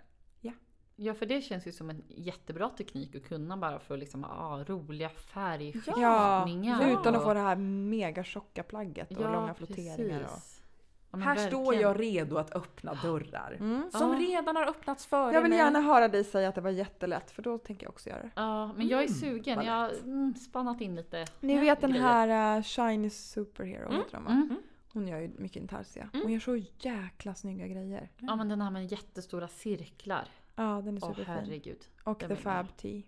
Ja, för det känns ju som en jättebra teknik att kunna bara för liksom, ah, roliga färgskiftningar.
Ja,
och-
utan att få det här mega tjocka plagget och
Ja,
långa flotteringar. Och...
precis. Ja, men
Här står
verkligen.
jag redo att öppna dörrar.
Mm.
Som
Ja.
redan har öppnats före
Jag vill
mig.
gärna höra dig säga att det var jättelätt, för då tänker jag också göra det.
Ja, men jag är
Mm,
sugen.
vad
Jag har mm, spannat in lite.
Ni vet den här uh, Shiny Superhero, heter de, va?
Mm.
Hon gör ju mycket intarsia. Hon gör så jäkla snygga grejer.
Ja, men den här med jättestora cirklar.
Ja, den är
Åh
superfin.
herregud.
Och
den
The
vill jag
Fab Tea.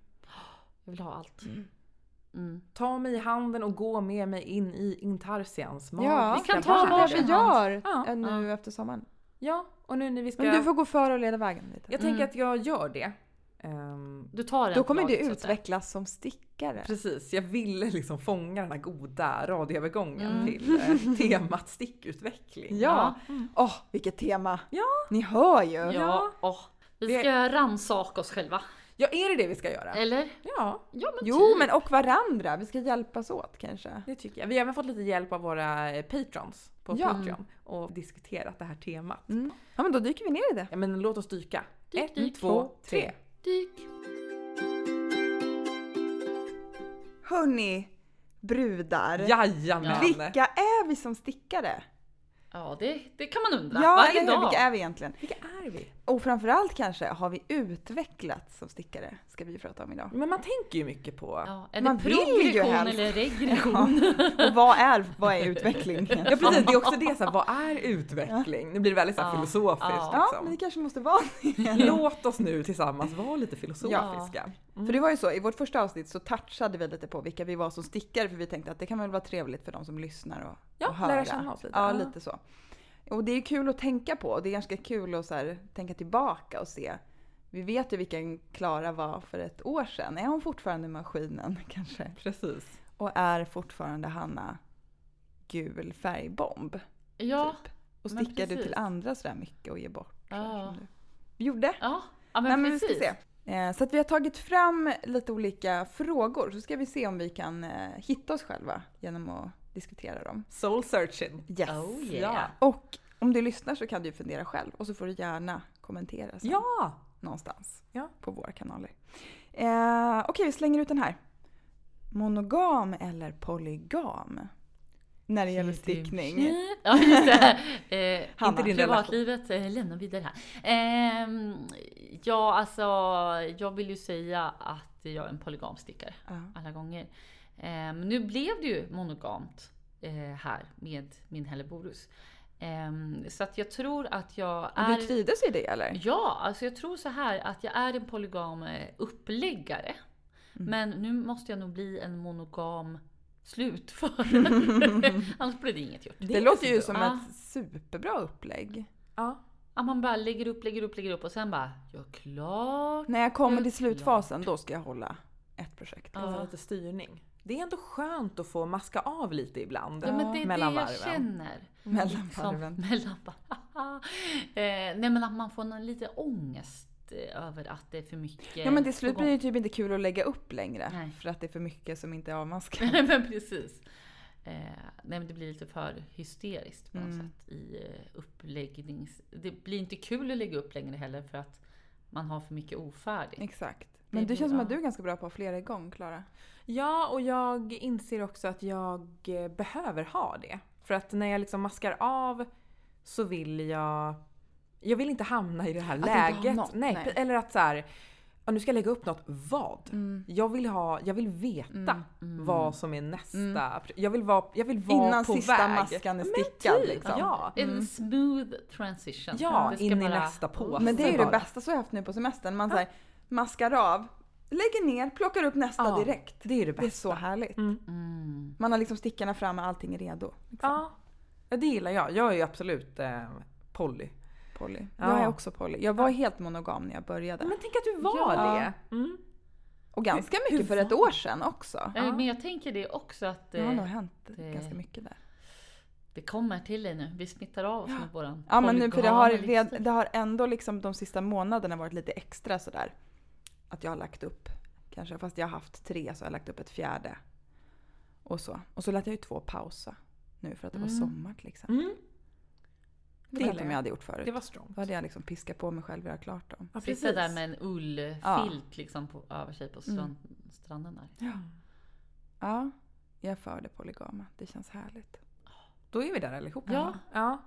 Jag vill ha allt. Mm.
Ta mig i handen och gå med mig in i intarsians
Ja,
Vi kan
magiska
ta
värld.
varsin
vi gör
Ja.
eh, nu efter sommaren.
Ja, och nu när vi ska...
Men du får gå före och leda vägen lite.
Jag tänker att jag gör det. Ehm,
Du tar en
Då kommer du
laget, så att säga.
utvecklas som stickare.
Precis, jag ville liksom fånga den här goda radioövergången till eh, temat stickutveckling.
Ja! Mm. Åh, vilket tema!
Ja.
Ni hör ju!
Ja, åh. Vi
Det-
ska rannsaka oss själva.
Ja, är det det vi ska göra?
Eller?
Ja,
Ja, men
Jo,
typ.
men och varandra. Vi ska hjälpas åt kanske.
det tycker jag. Vi har även fått lite hjälp av våra eh, patrons på
Ja.
Patreon och diskuterat det här temat.
Mm. Ja, men då dyker vi ner i det.
Ja, men låt oss dyka.
Dyk,
Ett,
dyk,
två, tre.
Dyk.
Hörni, brudar.
Jajamän!
Vilka är vi som stickare?
Ja, det, det kan man undra.
Ja,
Varje
eller hur?
dag.
Vilka är vi egentligen?
Vilka är vi?
Och framförallt kanske, har vi utvecklats som stickare? Ska vi prata om idag.
Men man tänker ju mycket på...
Ja, är
Man
det
vill ju
progression
helst.
eller regression?
Och vad är, vad är utveckling?
Ja precis, det är också det så här, vad är utveckling? Nu blir det väldigt så här,
Ja.
filosofiskt
Ja.
Ja,
liksom.
men vi kanske måste vara
Låt oss nu tillsammans vara lite filosofiska.
För det var ju så, i vårt första avsnitt så touchade vi lite på vilka vi var som stickare för vi tänkte att det kan väl vara trevligt för de som lyssnar och,
Ja,
och höra.
lära känna oss lite.
Ja,
Ja.
lite så. Och det är kul att tänka på. Det är ganska kul att så här, tänka tillbaka och se. Vi vet ju vilken Klara var för ett år sedan. Är hon fortfarande maskinen kanske?
Precis.
Och är fortfarande Hanna gul färgbomb?
Ja,
Typ. Och
men
stickar du till
precis.
andra sådär mycket och ger bort? så här
Ja.
som du gjorde?
ja. ja men
Nej, men vi
precis.
ska se. Eh, Så att vi har tagit fram lite olika frågor så ska vi se om vi kan eh, hitta oss själva genom att diskutera dem.
Soul searching.
Yes!
Oh yeah.
Och om du lyssnar så kan du fundera själv och så får du gärna kommentera sen
Ja!
någonstans
Ja.
på våra kanaler. Eh, Okej, vi slänger ut den här. Monogam eller polygam? När det gäller stickning.
Ja just det. Eh,
Hanna,
inte din privatlivet eh, lämnar vi där här. Ehm, ja alltså, jag vill ju säga att jag är en polygamstickare
Ja.
alla gånger. Ehm, nu blev det ju monogamt eh, här med min Helleborus. Ehm, så att jag tror att jag
Och
är...
Du trivdes i det eller?
Ja, alltså jag tror så här att jag är en polygam eh, uppläggare.
Mm.
Men nu måste jag nog bli en monogam slutförare. Annars blir det inget gjort.
Det, låter ju
inte
som
dumt.
dumt.
ett superbra upplägg.
Ja.
Att man bara lägger upp, lägger upp, lägger upp och sen bara gör klart.
När jag kommer
Mm,
till slutfasen då ska jag hålla ett projekt.
Ja.
Utan lite styrning. Det är ändå skönt att få maska av lite ibland.
Ja, men det är
mellan
det jag
varven.
känner.
Mellan
Som,
varven.
mellan varven. eh, nej men att man får någon lite ångest eh, över att det är för mycket.
Ja men till slut
på gång.
blir det typ inte kul att lägga upp längre.
Nej.
För att det är för mycket som inte är avmaskat.
Nej men precis. Eh, nej men det blir lite för hysteriskt på något
Mm.
sätt i eh, uppläggnings... Det blir inte kul att lägga upp längre heller för att man har för mycket ofärdigt.
Exakt.
Det
Men det
blir-
känns som att
ja.
du är ganska bra på flera igång Klara.
Ja, och jag inser också att jag eh, behöver ha det. För att när jag liksom maskar av så vill jag... Jag vill inte hamna i det här
Att inte ha
läget.
något,
nej,
nej.
Eller att så här, ja, nu ska jag lägga upp något. Vad?
Mm.
Jag, vill ha, jag vill veta vad som är nästa. Jag vill vara, jag vill vara
Mm. Innan
på
sista
väg.
maskan är
Men
stickad
typ,
liksom.
Ja,
En smooth transition.
ja
Det ska
in i
bara-
nästa påse
Mm. Men det är ju det
bara.
bästa som jag haft nu på semestern. Man så här, maskar av, lägger ner, plockar upp nästa
Ja.
direkt.
Det är det
Det är
bästa.
så härligt.
Mm.
Man har liksom stickarna fram och allting är redo.
Ja, Ja, det gillar jag. Jag är ju absolut eh, poly.
Polly.
Ja.
Jag är också Polly. Jag var helt monogam när jag började.
Mm.
Men tänk att du var
Ja.
det. Mm.
Och ganska
Hur-
mycket för
hur
ett år sedan också.
Ja,
Ja.
Eh, Men jag tänker det också att
Det har nog
det,
hänt
det-
ganska mycket där.
det kommer till dig nu. Vi smittar av oss med våran
Ja men nu, för det har,
polygama
red,
livsstil.
det har ändå liksom de sista månaderna varit lite extra sådär. Att jag har lagt upp kanske, fast jag har haft tre så har jag lagt upp ett fjärde. Och så. Och så lät jag ju två pausa nu för att det var
Mm.
sommar till exempel.
Mm.
Det vet
Det
jag inte om jag hade gjort förut.
Det var strongt.
Då hade jag liksom piskat på mig själv och göra klart dem.
Ja,
Sitta där med en ullfilt
Ja. Mm.
liksom på, över sig på strand, stranden där.
Ja, jag är för det polygama. Det känns härligt.
Då är vi där allihopa.
Ja.
ja.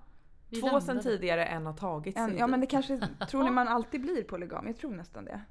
Vi
Två sen
landade.
tidigare, en har tagit sig
En, ja
dit.
men det kanske, tror ni man alltid blir polygam? Jag tror nästan det.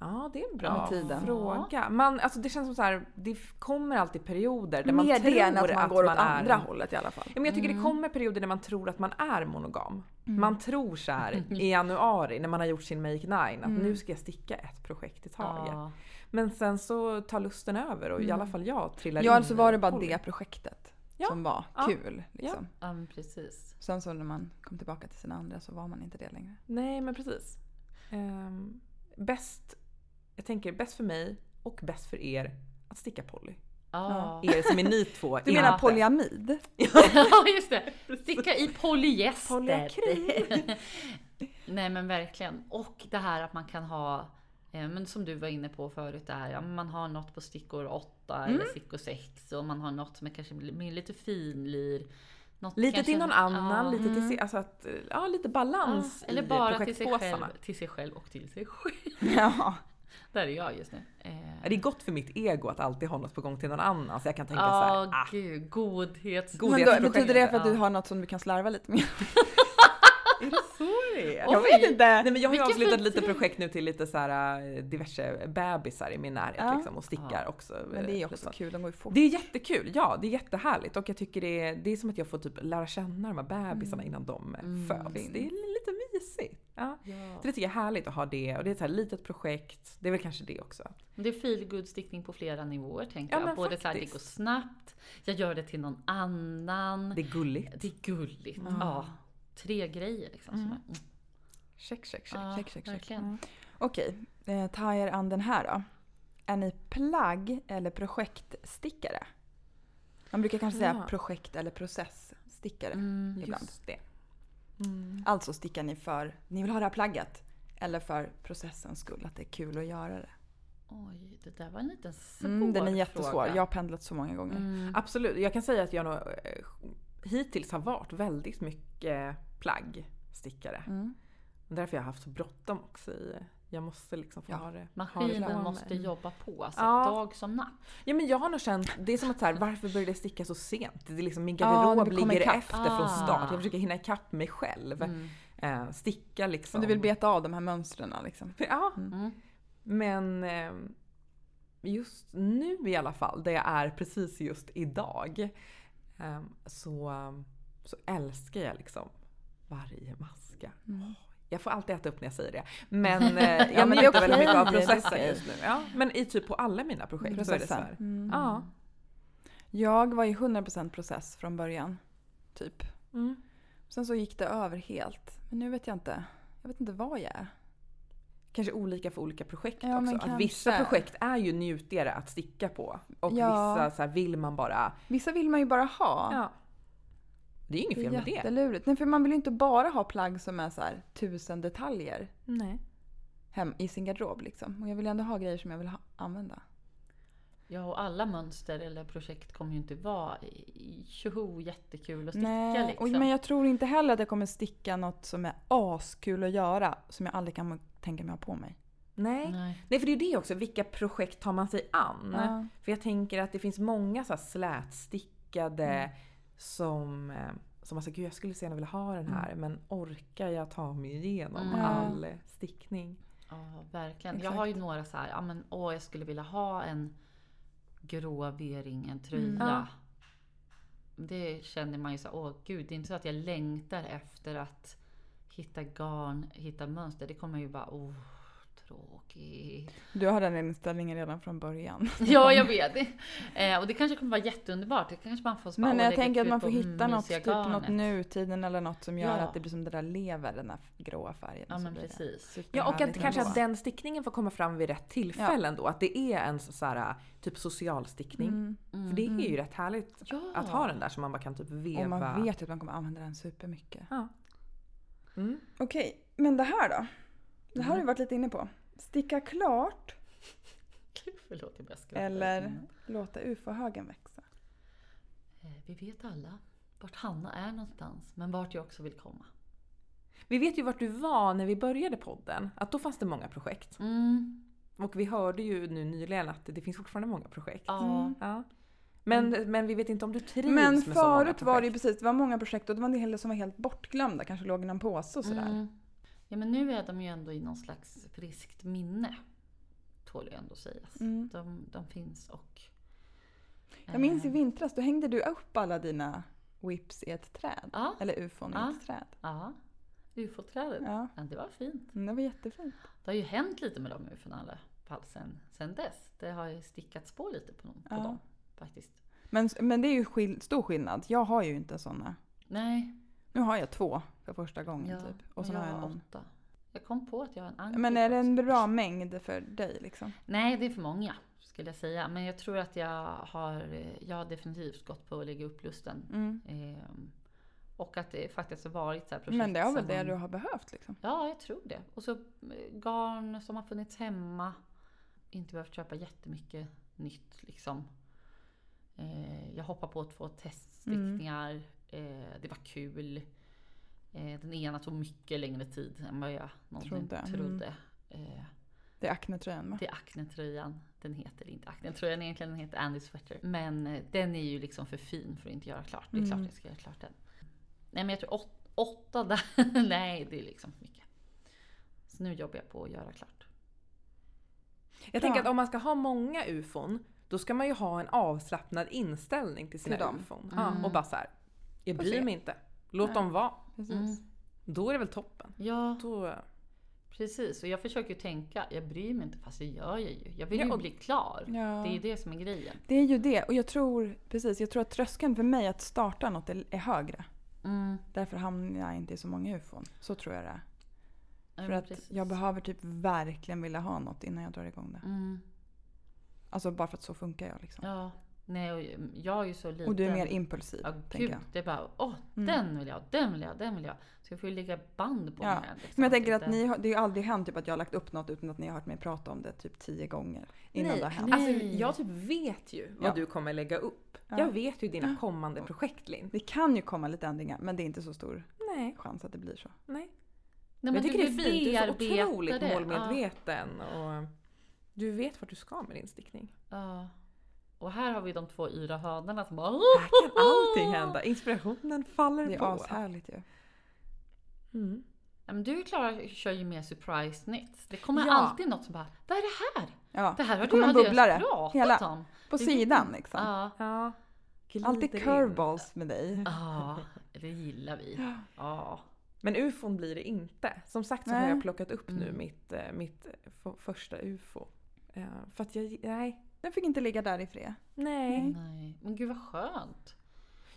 ja, det är en
Med
bra
tiden.
fråga. Man, alltså, det känns som så här, det f- kommer alltid perioder där man
Mer
tror
det än att man går åt
är-
andra Mm. hållet i alla fall.
Ja, men jag tycker det kommer perioder när man tror att man är monogam.
Mm.
Man tror så här i januari när man har gjort sin Make Nine att
Mm.
nu ska jag sticka ett projekt i taget.
Ja.
Men sen så tar lusten över och i alla fall jag trillar in
Mm. Ja, alltså var det
i
bara
poly.
det projektet
Ja.
som var
Ja.
kul. Liksom.
ja, men precis.
Sen så när man kom tillbaka till sina andra så var man inte det längre.
Nej, men precis. Ehm, bäst, jag tänker bäst för mig och bäst för er att sticka poly.
Ja,
Er som är ni två.
Du menar polyamid?
ja just det. Sticka i polyester.
Polyakryl.
Nej men verkligen. Och det här att man kan ha, eh, men som du var inne på förut, det här, ja, men man har något på stickor 8
Mm.
eller stickor 6 och man har något som är kanske med lite finlir. Något
Lite
kanske-
till någon annan,
Ja. Mm.
lite till sig, alltså att, ja lite balans
Ja, Eller
i
bara till sig, själv,
projektpåsarna.
till sig själv och till sig själv.
Ja.
Där är jag just nu. Eh,
Ja, Det är gott för mitt ego att alltid ha något på gång till någon annan så jag kan tänka så
Ja,
här, ah,
gud. Godhets...
God-
Men då,
Godhetsprojekt.
betyder det för att du
Ja.
har något som du kan slarva lite med?
är det så det är?
Oj.
Jag vet inte!
Nej men jag har ju
Vilken
avslutat lite
fin-
projekt nu till lite så här eh, diverse bebisar i min närhet
Ja.
liksom och stickar
Ja.
också.
Men det är
eh,
ju
lite
också kul, de går ju fort.
Det är jättekul, ja det är jättehärligt och jag tycker det är, det är som att jag får typ lära känna de här bebisarna innan de eh,
Mm.
föds. Det är lite mysigt. Ja.
Ja.
Så det tycker jag är härligt att ha det och det är ett så här litet projekt. Det är väl kanske det också.
Men Det är feelgood stickning på flera nivåer tänker
Ja,
jag.
men
Både så här, det
faktiskt.
går snabbt, jag gör det till någon annan.
Det är gulligt.
Det är gulligt.
Mm.
Ja. Tre grejer liksom. Som
Mm.
är,
Check, check, check.
Ja,
check, check, check.
verkligen.
Okej, eh, ta er an den här då. Är ni plagg eller projektstickare? Man brukar kanske säga
Ja.
projekt eller processstickare.
Mm.
Ibland.
Just det. Mm.
Alltså stickar ni för, ni vill ha det här plagget. Eller för processens skull, att det är kul att göra det.
Oj, det där var en liten svår
Mm, den är
fråga.
jättesvår. Jag har pendlat så många gånger.
Mm.
Absolut. Jag kan säga att jag nog eh, hittills har varit väldigt mycket plaggstickare.
Mm.
Det är Därför jag har haft så bråttom också. I, jag måste liksom få
Ja.
ha det. ha det
Maskinen
framme.
måste jobba på, alltså
Ja.
dag som natt.
Ja men jag har nog känt, det är som att så här, varför började jag sticka så sent? Det är liksom min
Ja, när
garderob
vi kommer
ligger
ikapp.
efter från
Ah.
start. Jag försöker hinna ikapp mig själv.
Mm.
Eh, sticka liksom.
Om du vill beta av de här mönstren liksom.
Ja,
Mm.
men eh, just nu i alla fall, där jag är precis just idag, eh, så, så älskar jag liksom varje maska.
Mm.
Jag får alltid äta upp när jag säger det. Men eh, jag
men det är
njuter väldigt mycket av
okej, det är
processen
okej.
just nu. Ja, men i typ på alla mina projekt så är det så här.
Mm.
Ja.
Jag var ju 100% process från början. Typ.
Mm.
Sen så gick det över helt. Men nu vet jag inte. Jag vet inte vad jag är.
Kanske olika för olika projekt
Ja, men
också. Att vissa
kanske.
projekt är ju njutigare att sticka på. Och
Ja.
vissa så här vill man bara...
Vissa vill man ju bara ha.
Ja. Det är ju inget
Det
fel
är
med det.
jättelurigt. Nej, för man vill ju inte bara ha plagg som är så här, tusen detaljer
Nej.
hem i sin garderob. Liksom. Och jag vill ändå ha grejer som jag vill ha, använda.
Ja, och alla mönster eller projekt kommer ju inte vara i- tjoho jättekul att sticka
och,
liksom.
men jag tror inte heller att jag kommer sticka något som är askul att göra. Som jag aldrig kan tänka mig ha på mig.
Nej.
Nej.
Nej, för det är ju det också. Vilka projekt tar man sig an?
Ja.
För jag tänker att det finns många så här slätstickade som, eh, som alltså, gud jag skulle så gärna vilja ha den här men orkar jag ta mig igenom
Mm.
all stickning?
Ja, verkligen. Jag har ju några så här, ja men åh jag skulle vilja ha en grå V-ring, en tröja.
Mm.
Ja.
Det känner man ju så här, åh gud, det är inte så att jag längtar efter att hitta garn, hitta mönster. Det kommer ju bara, åh tråkigt.
Du har den inställningen redan från början.
Ja, jag vet. Eh, och det kanske kommer vara jätteunderbart. Det kanske man får spara
Men
och
jag
lägga
tänker att
krut
man
på,
får hitta
mm,
något,
mysiga
typ något
garnet.
nutiden eller något som gör
Ja.
att det blir som det där lever, den där gråa färgen.
Ja,
så
men
blir det
precis.
Ja och att
superhärligt
kanske
ändå.
att den stickningen får komma fram vid rätt tillfälle ändå. Att det är en så så här, typ social stickning.
Mm.
För det är ju rätt härligt
Ja.
att ha den där som man bara kan typ veva.
Och man vet ju att man kommer använda den supermycket.
Ja. Mm.
Okej, men det här då? Det här har vi varit lite inne på. Sticka klart
Förlåt, jag började skratta.
eller låta ufo-högen växa?
Eh, Vi vet alla vart Hanna är någonstans, men vart jag också vill komma.
Vi vet ju vart du var när vi började podden. Att då fanns det många projekt.
Mm.
Och vi hörde ju nu nyligen att det finns fortfarande många projekt.
Ja.
Mm.
Ja. Men, men vi vet inte om du trivs
Men
med så många
förut var det ju
projekt.
precis, det var många projekt och det var en del som var helt bortglömda, kanske låg i någon påse och sådär.
Mm. Ja, men nu är de ju ändå i någon slags friskt minne. Tål ju ändå sägas.
Mm.
De, de finns och...
Jag minns i
Eh,
vintras, då hängde du upp alla dina whips i ett träd.
Ja,
Eller ufon i
Ja.
ett träd.
ja. Ufo-trädet.
Ja,
Ja, det var fint.
Mm, det var jättefint.
Det har ju hänt lite med de ufona i alla fall sen, sen dess. Det har ju stickats på lite på, dem- på
Ja.
dem faktiskt.
Men, men det är ju skill- stor skillnad. Jag har ju inte såna.
Nej,
Nu har jag två för första gången
ja.
typ. Och så
jag
har jag
har
någon.
åtta. Jag kom på att jag har en anki
Men är det en
också.
bra mängd för dig liksom?
Nej, det är för många skulle jag säga. Men jag tror att jag har, eh, jag har definitivt gått på att lägga upp lusten.
Mm.
Ehm, och att det faktiskt har varit så här projekt
Men det är väl
som
det
man-
du har behövt liksom?
Ja, jag tror det. Och så eh, garn som har funnits hemma. Inte behövt köpa jättemycket nytt liksom. Eh, jag hoppade på två teststickningar. Eh, det var kul. Eh, den ena tog mycket längre tid än vad jag någonsin
Trodde.
trodde.
Mm.
Eh,
Det är Acne-tröjan med.
det är Acne-tröjan. Den heter inte Acne-tröjan egentligen, den heter Andy Sweater. Men eh, den är ju liksom för fin för att inte göra klart. Det är
Mm.
klart jag ska göra klart den. Nej men jag tror åt, åtta där. Nej, det är liksom för mycket. Så nu jobbar jag på att göra klart.
Jag tänker
Ja.
att om man ska ha många ufon, då ska man ju ha en avslappnad inställning till sina
Till dem.
ufon.
Mm.
Och bara så här, jag
Får
bryr
se.
mig inte. Låt
Nej.
dem vara.
Precis.
Mm.
Då är det väl toppen.
Ja,
Då,
precis. Och jag försöker ju tänka, jag bryr mig inte fast det gör jag ju. Jag vill
Ja,
ju
och-
bli klar.
Ja.
Det är ju det som är grejen.
Det är ju det. Och jag tror, precis, jag tror att tröskeln för mig att starta något är, är högre.
Mm.
Därför hamnar jag inte i så många ufon. Så tror jag det är.
Ja,
För
men
att
precis.
jag behöver typ verkligen vilja ha något innan jag drar igång det.
Mm.
Alltså bara för att så funkar jag liksom.
Ja. Nej, och jag är ju så liten.
Och du är mer
typ,
impulsiv,
Ja,
tänker
gud.
jag.
Det är bara, åh,
Mm.
den vill jag ha, den vill jag ha, den vill jag ha. Så jag får ju lägga band på
Ja.
den här. Liksom.
Men jag tänker
inte-
att ni har, det har ju aldrig hänt typ att jag har lagt upp något utan att ni har hört mig prata om det typ tio gånger innan
Nej,
det har hänt.
nej.
alltså, jag typ vet ju vad
Ja.
du kommer lägga upp.
Ja.
Jag vet ju dina kommande projekt Linn.
Det kan ju komma lite ändringar men det är inte så stor
Nej,
chans att det blir så.
nej.
Nej, men
jag tycker det är
vill
fint. Du är så
bearbeta
otroligt
det.
målmedveten. Och du vet vart du ska med din stickning.
Ja, ja. Och här har vi de två yra hönorna som bara...
Här kan allting hända. Inspirationen faller
Det
på.
är ashärligt ju.
Mm.
Ja, men du Klara kör ju mer surprise knits. Det kommer
Ja.
alltid något som bara Vad är det här?
Ja,
Det här har
det kommer
du
en
aldrig
bubblare.
ens pratat
Hela-
om.
på
det-
sidan liksom.
Ja.
Ja. Glider
Alltid
in.
curveballs med dig.
ja, det gillar vi. Ja.
Men ufon blir det inte. Som sagt så har
Nej.
jag plockat upp nu
Mm.
mitt, eh, mitt f- första ufo. Eh, För att jag, nej.
Den fick inte ligga där i fred.
Nej.
Nej. Men gud vad skönt.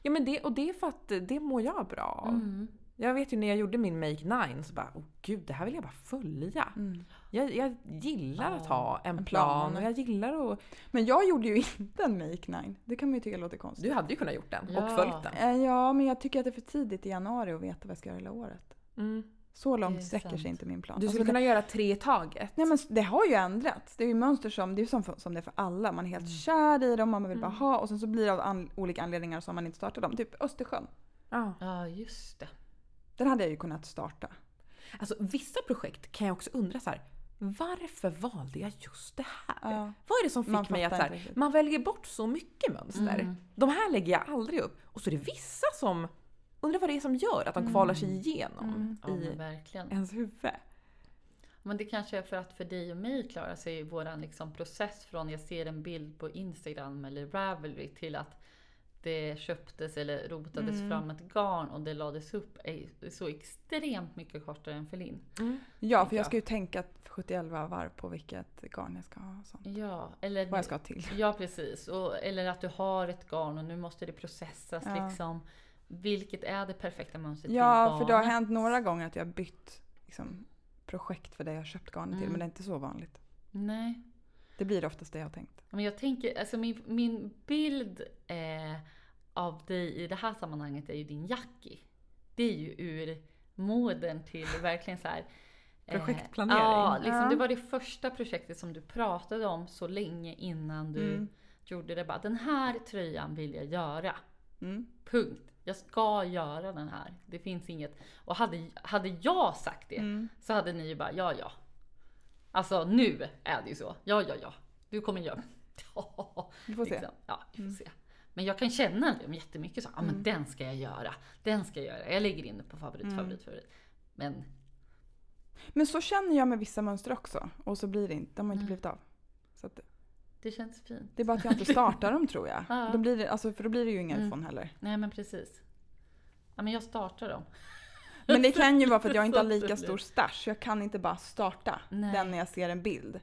Ja men det, och det är för att det mår jag bra av.
Mm.
Jag vet ju när jag gjorde min Make 9 så bara, åh gud det här vill jag bara följa.
Mm.
Jag, jag gillar
Ja,
att ha en,
en plan.
plan och jag gillar att...
Men jag gjorde ju inte en make nine. Det kan man ju tycka låter konstigt.
Du hade ju kunnat gjort den och
Ja.
följt den.
Eh, Ja, men jag tycker att det är för tidigt i januari att veta vad jag ska göra hela året.
Mm.
Så
Det
långt
är
sträcker
sant.
sig inte min plan. Alltså,
Du skulle
det,
kunna göra tre i taget.
nej men s- det har ju ändrats. Det är ju mönster som, det är ju som, för- som det är för alla. Man är helt kär i dem, man vill bara ha och sen så blir det av an, olika anledningar som man inte startar dem. Typ Östersjön.
Ja.
Ja, just det.
Den hade jag ju kunnat starta.
Alltså vissa projekt kan jag också undra så här. Varför valde jag just det här?
Ja.
Vad är det som fick
Man
mig att
fattar
så här,
inte riktigt.
man väljer bort så mycket mönster.
Mm.
De här lägger jag aldrig upp. Och så är det vissa som, undrar vad det är som gör att de kvalar sig igenom
Ja, men
i
verkligen.
ens huvud.
Men det kanske är för att för dig och mig Klara så är våran liksom process från jag ser en bild på Instagram eller Ravelry till att det köptes eller rotades
Mm.
fram ett garn och det lades upp är så extremt mycket kortare än för Linn.
Ja, för jag ska ju tänka 71 varv på vilket garn jag ska ha och sånt.
Ja, eller
Vad jag ska ha till.
Ja precis. Och, eller att du har ett garn och nu måste det processas
Ja.
liksom. Vilket är det perfekta
Typ
mönstret till
Ja, för det har
garnet?
hänt några gånger att jag har bytt liksom, projekt för det jag har köpt garnet till. Men det är inte så vanligt.
Nej.
Det blir oftast det jag har tänkt.
Men jag tänker, alltså min, min bild eh, av dig i det här sammanhanget är ju din Jackie. Det är ju ur moden till verkligen så här. eh,
Projektplanering.
Ja, liksom,
Ja.
det var det första projektet som du pratade om så länge innan du gjorde det. Bara, den här tröjan vill jag göra.
Mm.
Punkt. Jag ska göra den här. Det finns inget. Och hade, hade jag sagt det
Mm.
så hade ni ju bara ja, ja. Alltså nu är det ju så. Ja, ja, ja. Du kommer göra. Ja,
Vi får se. Mm.
liksom. Ja, vi får se. Men jag kan känna det om jättemycket så. Ja, men den ska jag göra. Den ska jag göra. Jag lägger in det på favorit,
Mm.
favorit, favorit. Men
Men så känner jag med vissa mönster också. Och så blir det inte, de har inte blivit av. Så att,
det känns fint.
det är bara att jag inte startar dem tror jag.
Ja. Mm.
Då blir det, alltså, för då blir det ju inga ufon heller.
Nej, men precis. Ja, men jag startar dem.
Men det kan ju vara för att jag inte har
Så att det
lika
blir-
stor stash. Jag kan inte bara starta
Nej.
den när jag ser en bild.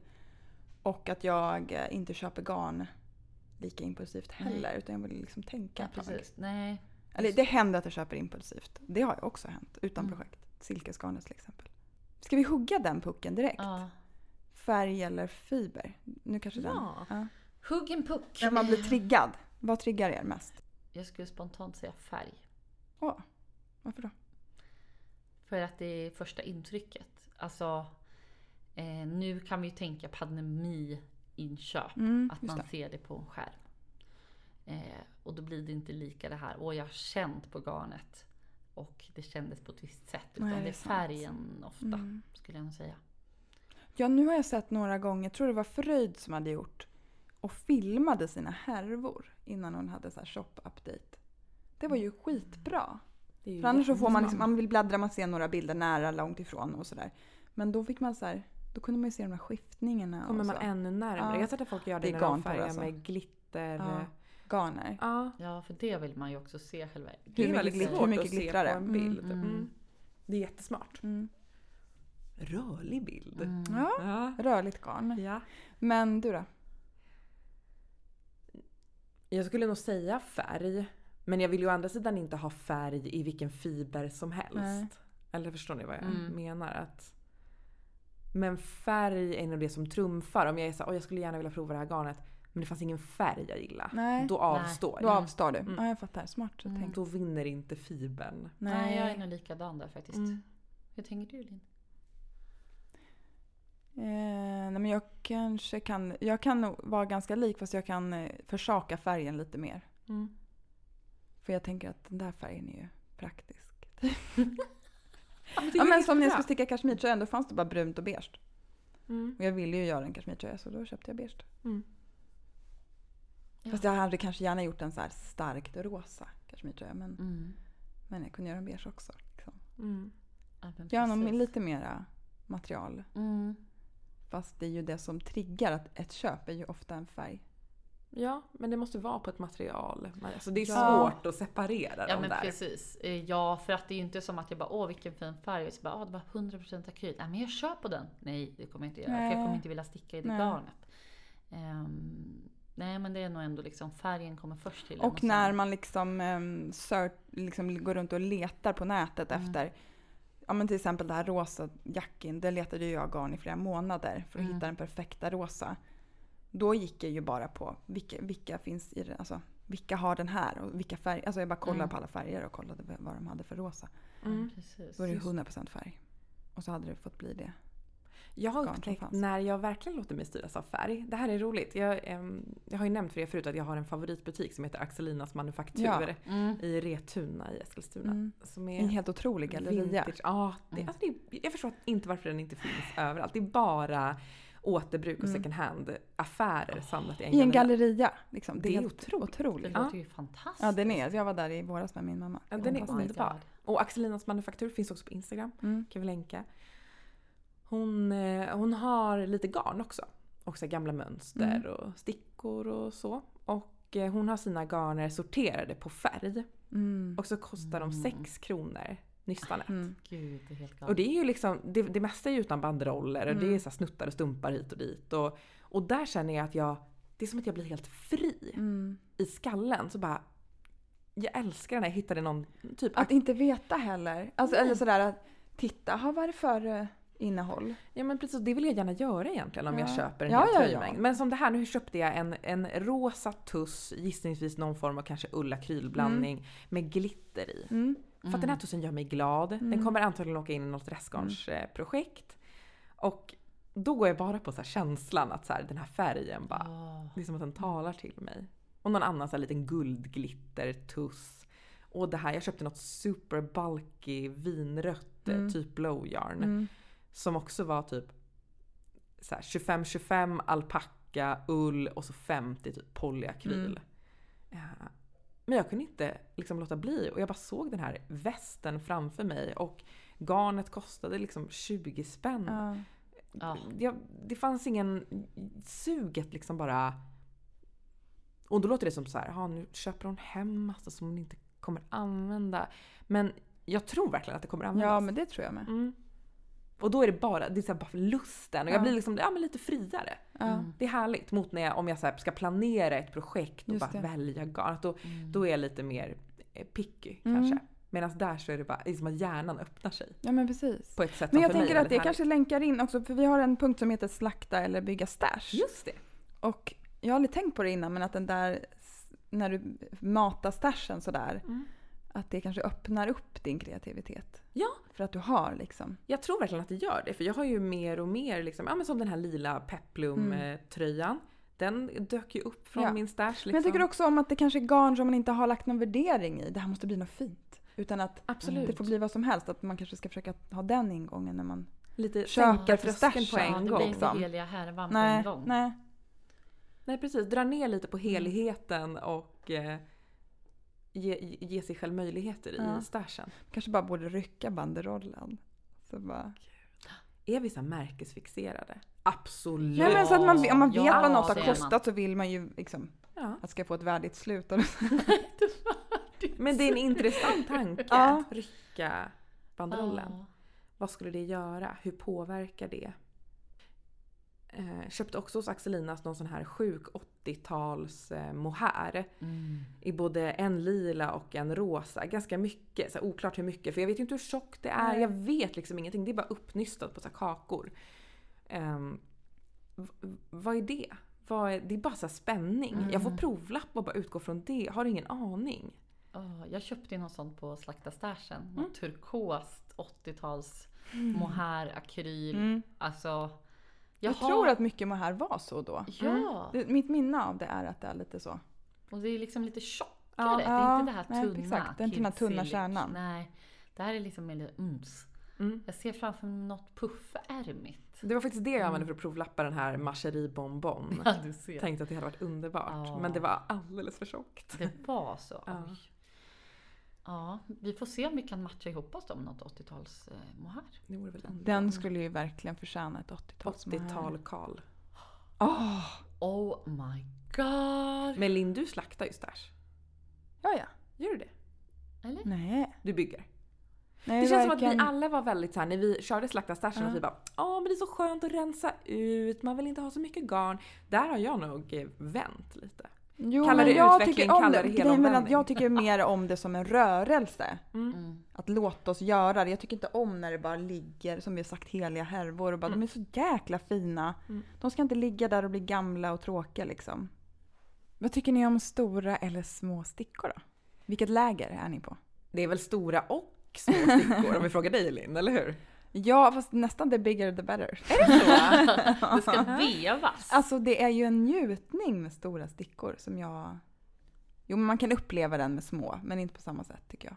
Och att jag eh, inte köper garn lika impulsivt heller. Utan jag vill liksom tänka
Ja,
ett tag.
precis. Nej.
Eller det händer att jag köper impulsivt. Det har ju också hänt utan
Mm.
projekt. Silkesgarnet till exempel. Ska vi hugga den pucken direkt?
Ja.
Färg eller fiber? Nu kanske den...
Ja.
Ja.
Hugg en puck.
När man blir triggad. Vad triggar er mest?
Jag skulle spontant säga färg.
Åh, varför då?
För att det är första intrycket. Alltså, eh, nu kan vi ju tänka pandemi-inköp.
Mm,
att
just
man
det.
ser det på en skärm. Eh, och då blir det inte lika det här, åh jag har känt på garnet. Och det kändes på ett visst sätt. Utan
Nej, det
det
är
är
sant.
färgen ofta,
Mm.
skulle jag nog säga.
Ja, nu har jag sett några gånger, jag tror det var Fröjd som hade gjort och filmade sina härvor innan hon hade så här shop-update. Det var ju skitbra.
Mm. Det är ju
För annars så får man,
jättesmart.
liksom, man vill bläddra, man ser några bilder nära, långt ifrån och sådär. Men då fick man så här, då kunde man ju se de här skiftningarna
kommer
och
man
så.
ännu närmare.
Ja.
Jag har sett att folk gör
Det
alltså. det,
är
när de
garntorr
färgar
alltså.
med glitter.
Ja.
Ja.
Garner.
Ja, för det vill man ju också se själva.
Hur
är
mycket
väldigt
glitter-
svårt
hur mycket
att se
glittrar det?
på en bild.
Mm.
Mm. Det är jättesmart.
Mm.
Rörlig bild.
Mm.
Ja,
Ja.
rörligt garn.
ja.
Men du då?
Jag skulle nog säga färg. Men jag vill ju å andra sidan inte ha färg i vilken fiber som helst.
Nej.
Eller förstår ni vad jag
Mm.
menar? Att, men färg är nog det som trumfar. Om jag är såhär, "Oj, jag skulle gärna vilja prova det här garnet. Men det fanns ingen färg jag gillade.
Nej.
Ah, Då avstår
Då
jag.
avstar du?
Mm.
Ja, jag fattar. Smart
Mm.
tänkt.
Då vinner inte fibern.
Nej. jag är nog likadan där faktiskt.
Mm.
Hur tänker du Linn?
Eh, nej men jag kanske kan... Jag kan nog vara ganska lik fast jag kan eh, försaka färgen lite mer.
Mm.
För jag tänker att den där färgen är ju praktisk.
men det är
Ja,
väl
men som när jag
jättebra.
skulle sticka kashmirtröjan då fanns det bara brunt och beige.
Mm.
Och jag ville ju göra en kashmirtröja så då köpte jag beige.
Mm.
Fast jag hade kanske gärna gjort en så här starkt rosa kashmirtröja men,
Mm. men
men jag kunde göra en beige också. Liksom.
Mm.
Jag har nog
precis.
lite mera material.
Mm.
Fast det är ju det som triggar att ett köp är ju ofta en färg.
Ja, men det måste vara på ett material. Man- Alltså det är
Ja.
svårt att separera
Ja
dem
men
där.
precis. Eh, Ja för att det är ju inte som att jag bara åh vilken fin färg och så bara åh det var 100% akryl. Nej men jag kör på den. Nej det kommer jag inte göra för jag
Nej.
kommer inte vilja sticka i det
Nej.
garnet. Ehm, nej men det är nog ändå liksom färgen kommer först till en
Och när
sen-
man liksom, um, liksom går runt och letar på nätet
Mm.
efter Ja men till exempel det här rosa jackin, det letade ju jag garn i flera månader för att
Mm.
hitta den perfekta rosa. Då gick jag ju bara på vilka, vilka finns i den, alltså vilka har den här och vilka färger. Alltså jag bara kollade
Mm.
på alla färger och kollade v- vad de hade för rosa.
Mm,
Mm.
precis.
Då är det
Just.
100% färg. Och så hade det fått bli det.
Jag har
garn som
upptäckt
fanns.
när jag verkligen låter mig styras av färg. Det här är roligt. Jag, ehm, jag har ju nämnt för er förut att jag har en favoritbutik som heter Axelinas Manufaktur
Ja.
Mm.
i Retuna i Eskilstuna.
Mm.
Som
En
är
helt otrolig galleria.
vintage. Ja, det,
Mm.
alltså det, är- jag förstår inte varför den inte finns överallt. Det är bara återbruk och
Mm.
second hand-affärer samlat i en,
I en
galleria.
galleria. Liksom. Det är
Det är
helt otroligt.
Det
otroligt.
låter
Ja.
ju fantastiskt.
Ja, den är. Jag var där i våras med min mamma.
Ja, den är
Oh my
Fantastiskt.
underbar.
god.
Och Axelinas Manufaktur finns också på Instagram.
Mm.
kan vi länka. Hon, eh, hon har lite garn också. Och så här gamla mönster
Mm.
och stickor och så. Och eh, hon har sina garner sorterade på färg.
Mm.
Och så kostar de 6 kronor nystanet.
Mm.
Gud, det är helt
Och
galet.
det är ju liksom, det, det mesta är ju utan banderoller och det är
Mm.
så här snuttar och stumpar hit och dit. Och, och där känner jag att jag, det är som att jag blir helt fri
Mm.
i skallen. Så bara, jag älskar den här, jag hittade någon typ
Att inte veta heller. Alltså, eller sådär att titta, ha, vad är det för eh, innehåll?
Ja men precis, det vill jag gärna göra egentligen om jag
Ja.
köper en
Ja,
hel
ja, ja.
tröjmängd. Men som det här, nu köpte jag en, en rosa tuss, gissningsvis någon form av kanske ullakrylblandning med glitter i.
Mm.
För att den här tussen gör mig glad. Den
Mm.
kommer antagligen åka in i något restgarnsprojekt. Och då går jag bara på så här känslan att så här, den här färgen bara,
Åh.
det är som att den talar till mig. Och någon annan så här liten guldglittertuss. Och det här, jag köpte något super bulky vinrött, eh,
Mm.
typ blow yarn
Mm.
som också var typ så här 25-25 alpacka, ull och så 50 typ polyakryl.
Mm.
Eh, Men jag kunde inte liksom låta bli och jag bara såg den här västen framför mig och garnet kostade liksom 20 spänn. Mm,
Ja.
Ja.
Jag, det fanns ingen suget liksom bara... Och då låter det som så här, "Jaha, nu köper hon hem massa som hon inte kommer använda. Men jag tror verkligen att det kommer användas.
ja, men det tror jag med.
Mm. Och då är det bara, det är så här bara för lusten och jag
Ja.
blir liksom, ja, men lite friare.
Ja.
Mm.
Det är härligt mot när jag, om jag så här ska planera ett projekt och
Just
bara
det.
välja garn. Att Då,
Mm.
då är jag lite mer eh, picky
Mm.
kanske. Medan där så är det bara det är som att hjärnan öppnar sig
ja, men precis.
på ett sätt
Men
som
jag
för mig
tänker
är
att det
väldigt
kanske länkar in också, för vi har en punkt som heter slakta eller bygga
härligt.
stash.
Just det!
Och jag har aldrig tänkt på det innan, men att den där, s- när du matar stashen sådär,
Mm.
att det kanske öppnar upp din kreativitet.
Ja.
För att du har liksom.
Jag tror verkligen att det gör det för jag har ju mer och mer liksom, ja men som den här lila
Mm.
Peplum-tröjan. Den dök ju upp från
Ja.
min stash liksom.
Men jag tycker också om att det kanske är garn som man inte har lagt någon värdering i. Det här måste bli något fint. Utan att
Absolut.
det får bli vad som helst. Att man kanske ska försöka ha den ingången när man...
Lite
Köpa
sänka
för
tröskeln på
stashen,
ja,
en
det
gång.
blir inte
liksom.
heliga härvan på en
Nej,
gång.
nej.
Nej precis, dra ner lite på helheten och eh, ge, ge sig själv möjligheter
Ja.
i stashen.
Kanske bara borde rycka banderollen. Så bara...
Är vi så här märkesfixerade? Absolut!
Nej men så att man, om man
Ja,
vet vad något
det är
har
man.
kostat så vill man ju liksom
Ja.
att det ska få ett värdigt slut.
Men det är en intressant tanke.
Ja.
Rycka banderollen.
Ja.
Vad skulle det göra? Hur påverkar det? Eh, köpte också hos Axelinas någon sån här sjuk 80-tals eh, mohair.
Mm.
I både en lila och en rosa. Ganska mycket. Så här, oklart hur mycket. För jag vet ju inte hur tjockt det är.
Nej.
Jag vet liksom ingenting. Det är bara uppnystat på så här, kakor. Ehm, v- vad är det? Vad är, det är bara så här, spänning. Jag får
Mm.
provlapp och bara utgå från det. Har ingen aning.
Ja, jag köpte ju något sånt på Slakta Stashen.
Mm.
Något turkost 80-tals mohair, akryl.
Mm.
Alltså.
Jag
har-
tror att Mm. mycket mohair var så då.
Ja,
Det- Mitt minne av det är att det är lite så.
och det är liksom lite tjockare.
Ja,
det är
ja,
inte det här tunna.
nej, exakt. Den tunna, tunna
kidsilly.
kärnan.
Nej, det här är liksom mer lite uns.
Mm.
Jag ser framför mig något puffärmigt.
Det var faktiskt det jag använde för att provlappa den här Marcherie
Mm.
Bonbon.
Ja, du ser.
Tänkte att det hade varit underbart.
Ja.
Men det var alldeles för tjockt.
Det var så.
Ja.
Oj. Ja, vi får se om vi kan matcha ihop oss då med något 80-tals eh, mohair.
Det vore väl underbart.
Den skulle ju verkligen förtjäna ett 80-tal.
80-tal Karl.
Oh,
Oh my god!
Men Linn, du slaktar ju stash.
ja, ja.
Gör du det?
Eller?
Nej.
Du bygger?
Nej
Det känns som att
varken-
vi alla var väldigt såhär när vi körde slakta stashen
Ja.
att vi bara Åh men det är så skönt att rensa ut, man vill inte ha så mycket garn. Där har jag nog eh, vänt lite.
Jo,
Kallar
men
det
jag
utveckling,
tycker om
kallar
det.
det
Grejen är väl att
helomvändning.
jag tycker mer om det som en rörelse.
Mm.
Att låta oss göra det. Jag tycker inte om när det bara ligger, som vi har sagt, heliga härvor och bara de är så jäkla fina.
Mm.
De ska inte ligga där och bli gamla och tråkiga liksom. Vad tycker ni om stora eller små stickor då? Vilket läger är ni på?
Det är väl stora och små stickor om vi frågar dig Linn, eller hur?
Ja, fast nästan the bigger the better.
Det ska vevas!
Alltså det är ju en njutning med stora stickor som jag... Jo, men man kan uppleva den med små, men inte på samma sätt tycker jag.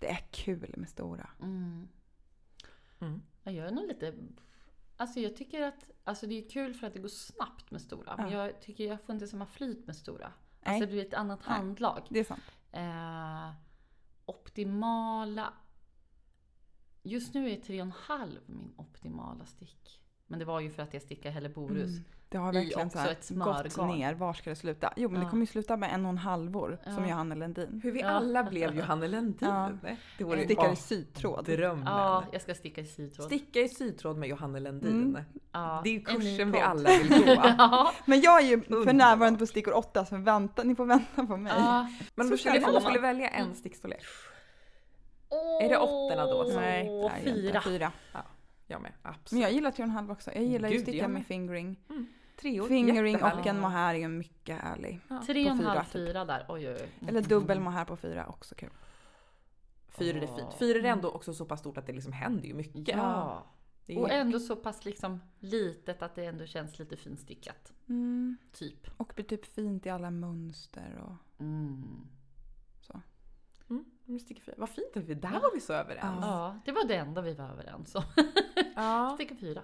Det är kul med stora.
Mm.
Mm.
Ja, Jag är nog lite... Alltså jag tycker att alltså det är kul för att det går snabbt med stora. Men jag tycker jag får inte samma flyt med stora.
Nej.
Alltså det blir ett annat
Nej.
handlag.
Det är sant.
Eh, optimala... Just nu är 3,5 min optimala stick. Men det var ju för att jag stickade Helle Borus.
Mm. Det har
I
verkligen
också
så här
ett
gått
smörgarn.
ner. Var ska det sluta? Jo, men det
Ja.
kommer ju sluta med en och en halvor som
Ja.
Johanna Lundin.
Hur vi
Ja.
alla blev Johanne Lundin.
Ja.
Det vore ju
Stickar i sytråd.
drömmen.
Ja, jag ska sticka i sytråd.
Sticka i sytråd med Johanne Lundin.
ja,
Det är ju
en ny
kursen vi
podd.
alla vill gå.
ja,
Men jag är ju för
Underbart.
närvarande på stickor 8 så vänta, ni får vänta på mig.
ja.
Men om du
Så
känner
kan
att
man.
du skulle välja en stickstorlek.
Åh,
Är det åttorna då?
Nej, det är jag inte.
fyra.
fyra.
Jag med,
Men
absolut.
jag gillar 3,5 också. Jag gillar ju
Gud,
att sticka
jag
med
med.
fingering.
Treor,
Fingering och
jättehärligt.
en mohair är ju mycket härlig.
Tre och en
På fyra,
halv,
typ.
fyra där. Oj, oj, oj.
Mm.
Eller dubbel mohair på fyra, också kul.
Fyra är fint.
Åh.
Fyra är ändå också så pass stort att det liksom händer ju mycket.
Ja.
Det är
Och
ju-
ändå så pass liksom litet att det ändå känns lite finstickat.
Mm.
Typ.
Och blir typ fint i alla mönster och
Mm.
Mm, men sticker fyra. Vad fint att vi, där var vi så överens.
Ja, det var det enda vi var överens om.
Ja.
Sticka fyra.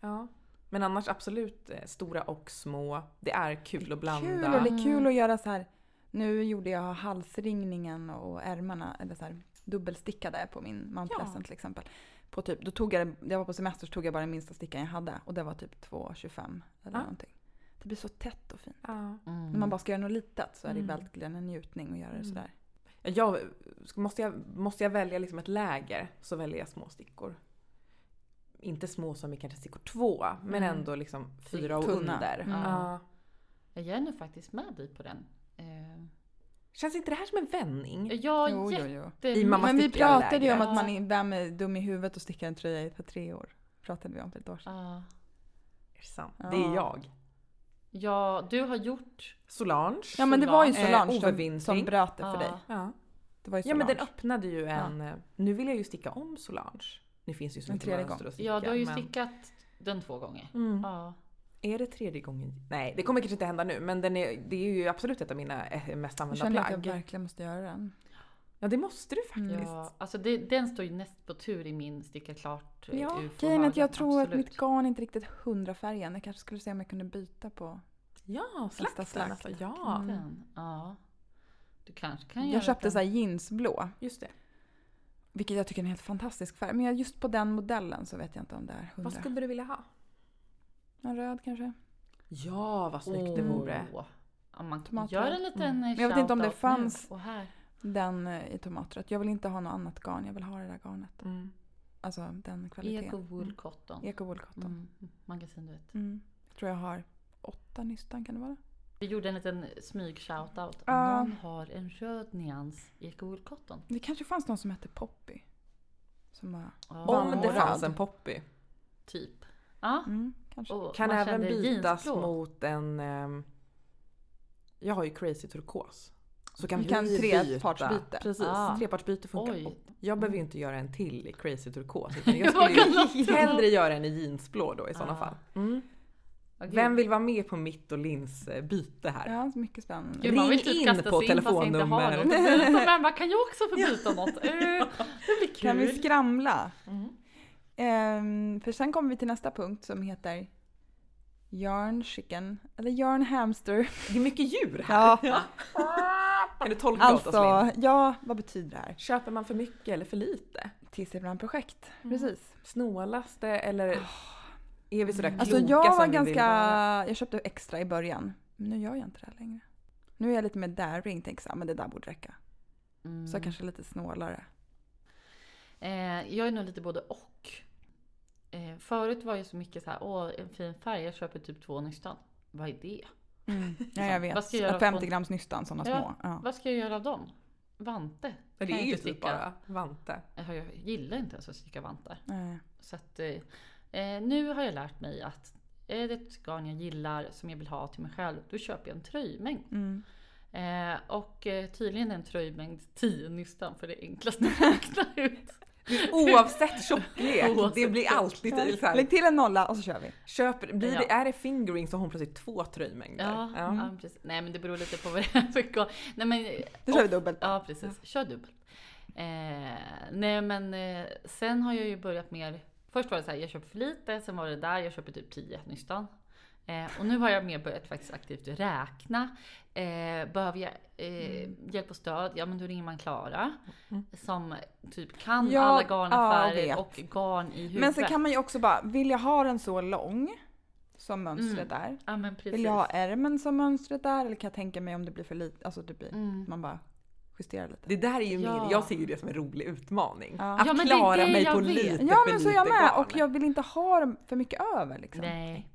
ja. Men annars absolut eh, stora och små. Det är kul att
kul.
blanda.
Och det är kul att göra så här. Nu gjorde jag halsringningen och ärmarna, eller så här, dubbelstickade på min Mount
Ja.
Pleasant till exempel. På typ, då tog jag, det- jag var på semester så tog jag bara den minsta stickan jag hade och det var typ 2,25 eller
Ja.
någonting. Det blir så tätt och fint.
Ja.
När man
Mm.
bara ska göra något litet så är det
Mm.
verkligen en njutning att göra det
Mm.
sådär.
Jag, måste, jag, måste jag välja liksom ett läger så väljer jag små stickor. Inte små som i kanske stickor två, men
Mm.
ändå liksom fyra och
Tunna.
under.
Mm.
Ja.
Jag är nog faktiskt med dig på den. Eh,
Känns inte det här som en vändning?
Ja,
Jo, jo,
jätte...
jo.
I mamma
Men vi
stickar jag
pratade ju
lägre.
om att
Ja.
man är, vem är dum i huvudet och stickar en tröja i ett par tre år. Pratade vi om för ett år sedan.
Ja.
Är det sant?
Ja.
Det är jag.
ja, du har gjort...
Solange.
Ja men det var ju
Solange.
Solange
Eh,
som,
Ovevintring.
som bröt det för
Ja.
dig.
Ja.
Det var ju
Ja men
Solange.
den öppnade ju en... eh, Nu vill jag ju sticka om Solange. Nu finns det ju så
En
mycket
tredje
mönster att sticka.
Ja, du har ju
men-
stickat den två gånger.
Mm.
Ja.
Är det tredje gången? Nej, det kommer kanske inte hända nu men den är, det är ju absolut ett av mina eh, mest
Nu
använda
känner jag att
plagg.
jag verkligen måste göra den.
Ja det måste du faktiskt.
Mm.
Ja, alltså det, den står ju näst på tur i min sticka klart eh,
Ja,
ufo
Grejen är att jag
högen,
tror att
absolut.
mitt garn inte riktigt hundra färgen. Jag kanske skulle se om jag kunde byta på.
Ja, slakten.
slakt.
Alltså, ja,
Den, ja. Du kanske kan göra
Mm. Jag köpte
den.
så här jeansblå,
just det.
vilket jag tycker är en helt fantastisk färg. Men jag- just på den modellen så vet jag inte om det är hundra.
Vad skulle du vilja ha?
En röd kanske?
Ja, vad snyggt det
Åh.
vore.
Ja, man
Tomater. Mm.
gör en liten
Men jag vet inte om det
shoutout nu
fanns-
Och här.
Den eh, i tomatrött. Jag vill inte ha något annat garn. Jag vill ha det där garnet.
Mm.
Alltså den kvaliteten.
Eco Wool Cotton.
Mm. Eko woolcotton. Mm.
Mm, magasin du vet.
Jag tror jag har åtta nystan kan det vara.
Vi gjorde en liten smyg shoutout. Om
Ja.
någon har en röd nyans Eco Wool Cotton.
Det kanske fanns någon som hette Poppy. Som var...
Ja,
Om det
Vandrad.
fanns en poppy.
Typ. Ja.
Mm, kanske.
Och
Kan
man
även
kände
bytas
jeansblå.
mot en... ehm, jag har ju crazy turkos. Så kan
Vi
vi
kan
byta.
trepartsbyte.
Precis,
Ah.
trepartsbyte funkar.
Oj.
Jag behöver ju inte göra en till i crazy turkos. Utan jag
Jag kan
skulle ju
inte.
hellre göra en i jeansblå då i sådana
Ah.
fall. Mm.
Åh, gud.
Vem vill vara med på mitt och Lins eh, byte här?
Ja, så mycket spännande.
Gud, man vill
Ring
typ
in
kasta
på
sig in fast jag inte har något.
telefonnummer.
Men man bara, kan jag också få byta något? Eh, Det blir kul.
Kan vi skramla?
Mm.
Ehm, för sen kommer vi till nästa punkt som heter Yarn chicken, eller yarn hamster.
Det är mycket djur här.
Ja,
Kan du tolka åt oss Linn?
alltså, ja, vad betyder det här?
Köper man för mycket eller för lite?
Tills ibland projekt, precis.
Snålas det eller Ah. är vi sådär kloka
Alltså jag var
som vi vill
ganska,
vara?
jag köpte extra i början. Men nu gör jag inte det här längre. Nu är jag lite mer daring, tänker jag, men det där borde räcka.
Mm.
Så jag kanske är lite snålare.
Eh, jag är nog lite både och. Eh, förut var ju så mycket så här, åh en fin färg, jag köper typ två nystan. Vad är det?
Ja, jag vet.
Vad ska jag göra
50
på-
grams nystan, sådana
Ja.
små. Ja.
Vad ska jag göra av dem? Vante?
Men Det
Kan jag
är ju
inte
typ
sticka.
bara vante.
Eh, Jag gillar inte ens att sticka vantar.
Nej.
Så att, eh, eh, nu har jag lärt mig att är det ett garn jag gillar som jag vill ha till mig själv, då köper jag en tröjmängd.
Mm.
Eh, och eh, tydligen är en tröjmängd 10 nystan för det är enklast att räkna ut.
Oavsett tjocklek,
Oavsett
det blir alltid till så här.
Lägg till en nolla och så kör vi.
Köper, blir det,
Ja.
är det fingering så har hon plötsligt två tröjmängder.
Ja, ja, precis. Nej men det beror lite på vad det är för garn. Nej men
Då kör vi dubbelt.
Ja, precis. Kör dubbelt. Eh, nej, men eh, sen har jag ju börjat mer. Först var det så här, jag köper för lite. Sen var det där, jag köper typ 10 nystan. Eh, och nu har jag mer börjat faktiskt aktivt räkna. Eh, behöver jag eh,
Mm.
hjälp och stöd, ja men då ringer man Klara. Som typ kan
Ja,
alla
ja,
garnaffärer
jag vet.
och garn i huvudet.
Men sen kan man ju också bara, vill jag ha den så lång som mönstret är?
Ja men Mm, precis.
Vill jag ha ärmen som mönstret är? Eller kan jag tänka mig om det blir för lite? Alltså det blir,
Mm.
man bara justerar lite.
Det där är ju
Ja.
min, jag ser ju det som en rolig utmaning.
Ja.
Att
Ja, men det är
klara
det
mig
jag
på
vet.
lite
Ja
för
men så är
lite
jag med
garn.
och jag vill inte ha dem för mycket över liksom.
Nej.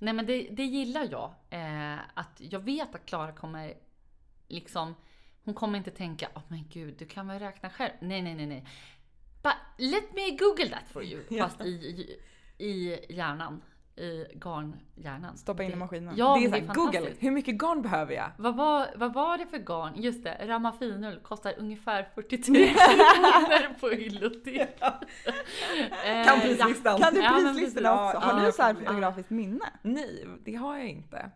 Nej men det, det gillar jag. Eh, att jag vet att Klara kommer liksom, hon kommer inte tänka åh men gud du kan väl räkna själv. Nej nej nej nej. But let me google that for you. Fast i, i, i hjärnan. I garnhjärnan.
Stoppa in i
Det-
maskinen.
Ja,
det
men
är såhär, google,
fantastiskt.
hur mycket garn behöver jag?
Vad var, vad var det för garn? Just det, ramafinull kostar ungefär 43 kronor på Illotik.
Kan
eh, ja.
prislistan.
Kan du
Ja, men
prislistorna
precis.
också?
Ja,
Har
ja,
du så här
ja.
fotografiskt minne?
Nej, det har jag inte.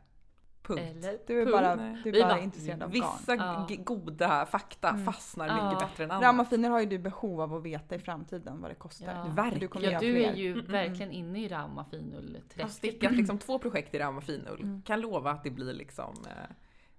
Punkt.
Eller
Du är bara,
nej.
du
Vi
är bara
bara,
intresserad av garn. Mm.
Vissa
Ja.
g- goda fakta fastnar mycket
Ja.
bättre än andra.
Ramafiner har ju du behov av att veta i framtiden vad det kostar.
Ja.
För Du kommer
Ja,
göra
du är
fler. Mm,
ju verkligen inne i ramafinull
Jag har
30.
stickat liksom två projekt i ram och finull.
Mm.
Kan lova att det blir liksom, eh,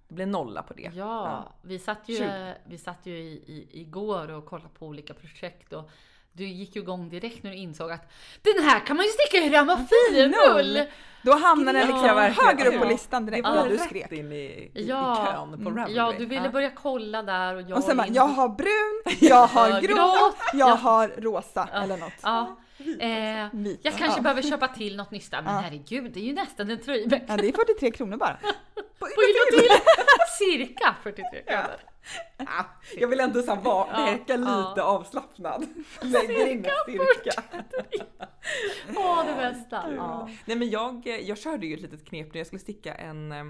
det blir nolla på det.
Ja, vi satt ju,
Tjugo.
vi satt ju i, i, igår och kollade på olika projekt och du gick ju igång direkt när du insåg att den här kan man ju sticka i ramafinull!
Då hamnar den
Ja,
liksom
verkligen.
högre upp på
Ja.
listan direkt.
Ja.
Ja,
Det
du
var
skrek.
rätt in i, i, i
Ja,
kön på
mm,
Ravelry.
ja, du ville börja kolla där och jag
Och sen bara,
in-
jag har brun, jag har
Ja,
grå,
grått.
jag har rosa eller något.
Ja, eh,
Vit.
jag kanske
Ja.
behöver köpa till något nysta, men herregud, det är ju nästan en tröjbänk.
Ja, det är 43 kronor bara.
På till Cirka 43 kronor.
Ah, jag vill ändå såhär
Ja,
verka
ja.
lite avslappnad. Lägger in en styrka.
Åh, det bästa! Ja.
Nej men jag, eh, jag körde ju ett litet knep när jag skulle sticka en, eh,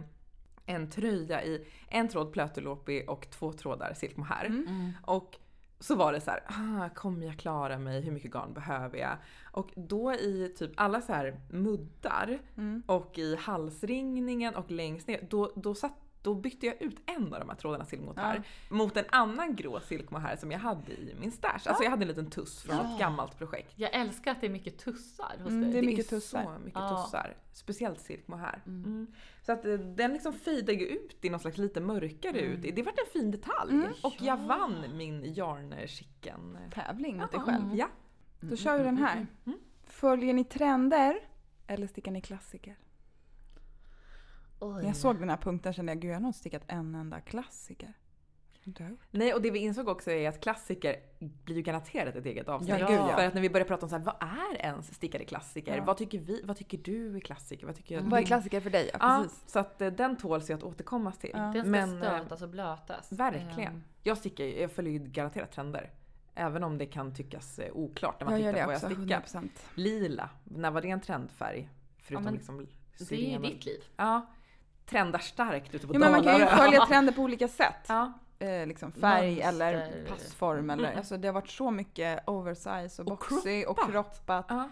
en tröja i en tråd plötulåpi och två trådar silkmohair. Och så var det så här, ah, kommer jag klara mig? Hur mycket garn behöver jag? Och då i typ alla så här muddar och i halsringningen och längst ner, då, då, satt, då bytte jag ut en av de här trådarna silkmohair mot en annan grå silkmohair som jag hade i min stash. Alltså jag hade en liten tuss från ett gammalt projekt.
Jag älskar att det är mycket tussar hos
Mm,
dig.
det är
Det
mycket
är
tussar.
så mycket
Ja.
tussar. Speciellt silkmohair. Mm. Så att eh, den liksom fejdar ju ut i någon slags lite mörkare ut. Det vart en fin detalj. Och jag vann min yarn chicken.
Tävling mot dig själv.
Ja.
Då kör vi den
Mm,
här. Följer ni trender eller stickar ni klassiker?
Oj.
När jag såg den här punkten kände jag, gud jag har nog inte stickat en enda klassiker.
Mm.
Inte.
Nej, och det vi insåg också är att klassiker blir ju garanterat ett eget avsnitt.
Ja, gud, ja.
För att när vi började prata om så här, vad är ens stickade klassiker?
Ja.
Vad tycker vi? Vad tycker du är klassiker? Vad tycker jag?
Vad är klassiker för dig? Ja,
Ja,
precis.
så att eh, den tåls ju att återkommas till.
Ja.
Den ska
Men, eh,
stötas och blötas.
Verkligen.
Ehm,
Jag stickar ju, jag följer ju garanterat trender. Även om det kan tyckas eh, oklart när man
Jag gör
tittar
det
på vad
också,
jag stickar.
100%.
Lila, när var det en trendfärg? Förutom
men
liksom
Det är ju
syren och-
ditt liv.
Ja. Trendar starkt ute på
Jo, men man kan ju
Dalarö.
följa trender på olika sätt.
Ja.
Eh, liksom färg
Mönster.
eller passform. Eller,
Mm.
alltså, det har varit så mycket oversize och
Och
boxy och
kroppat.
kroppat.
Ja.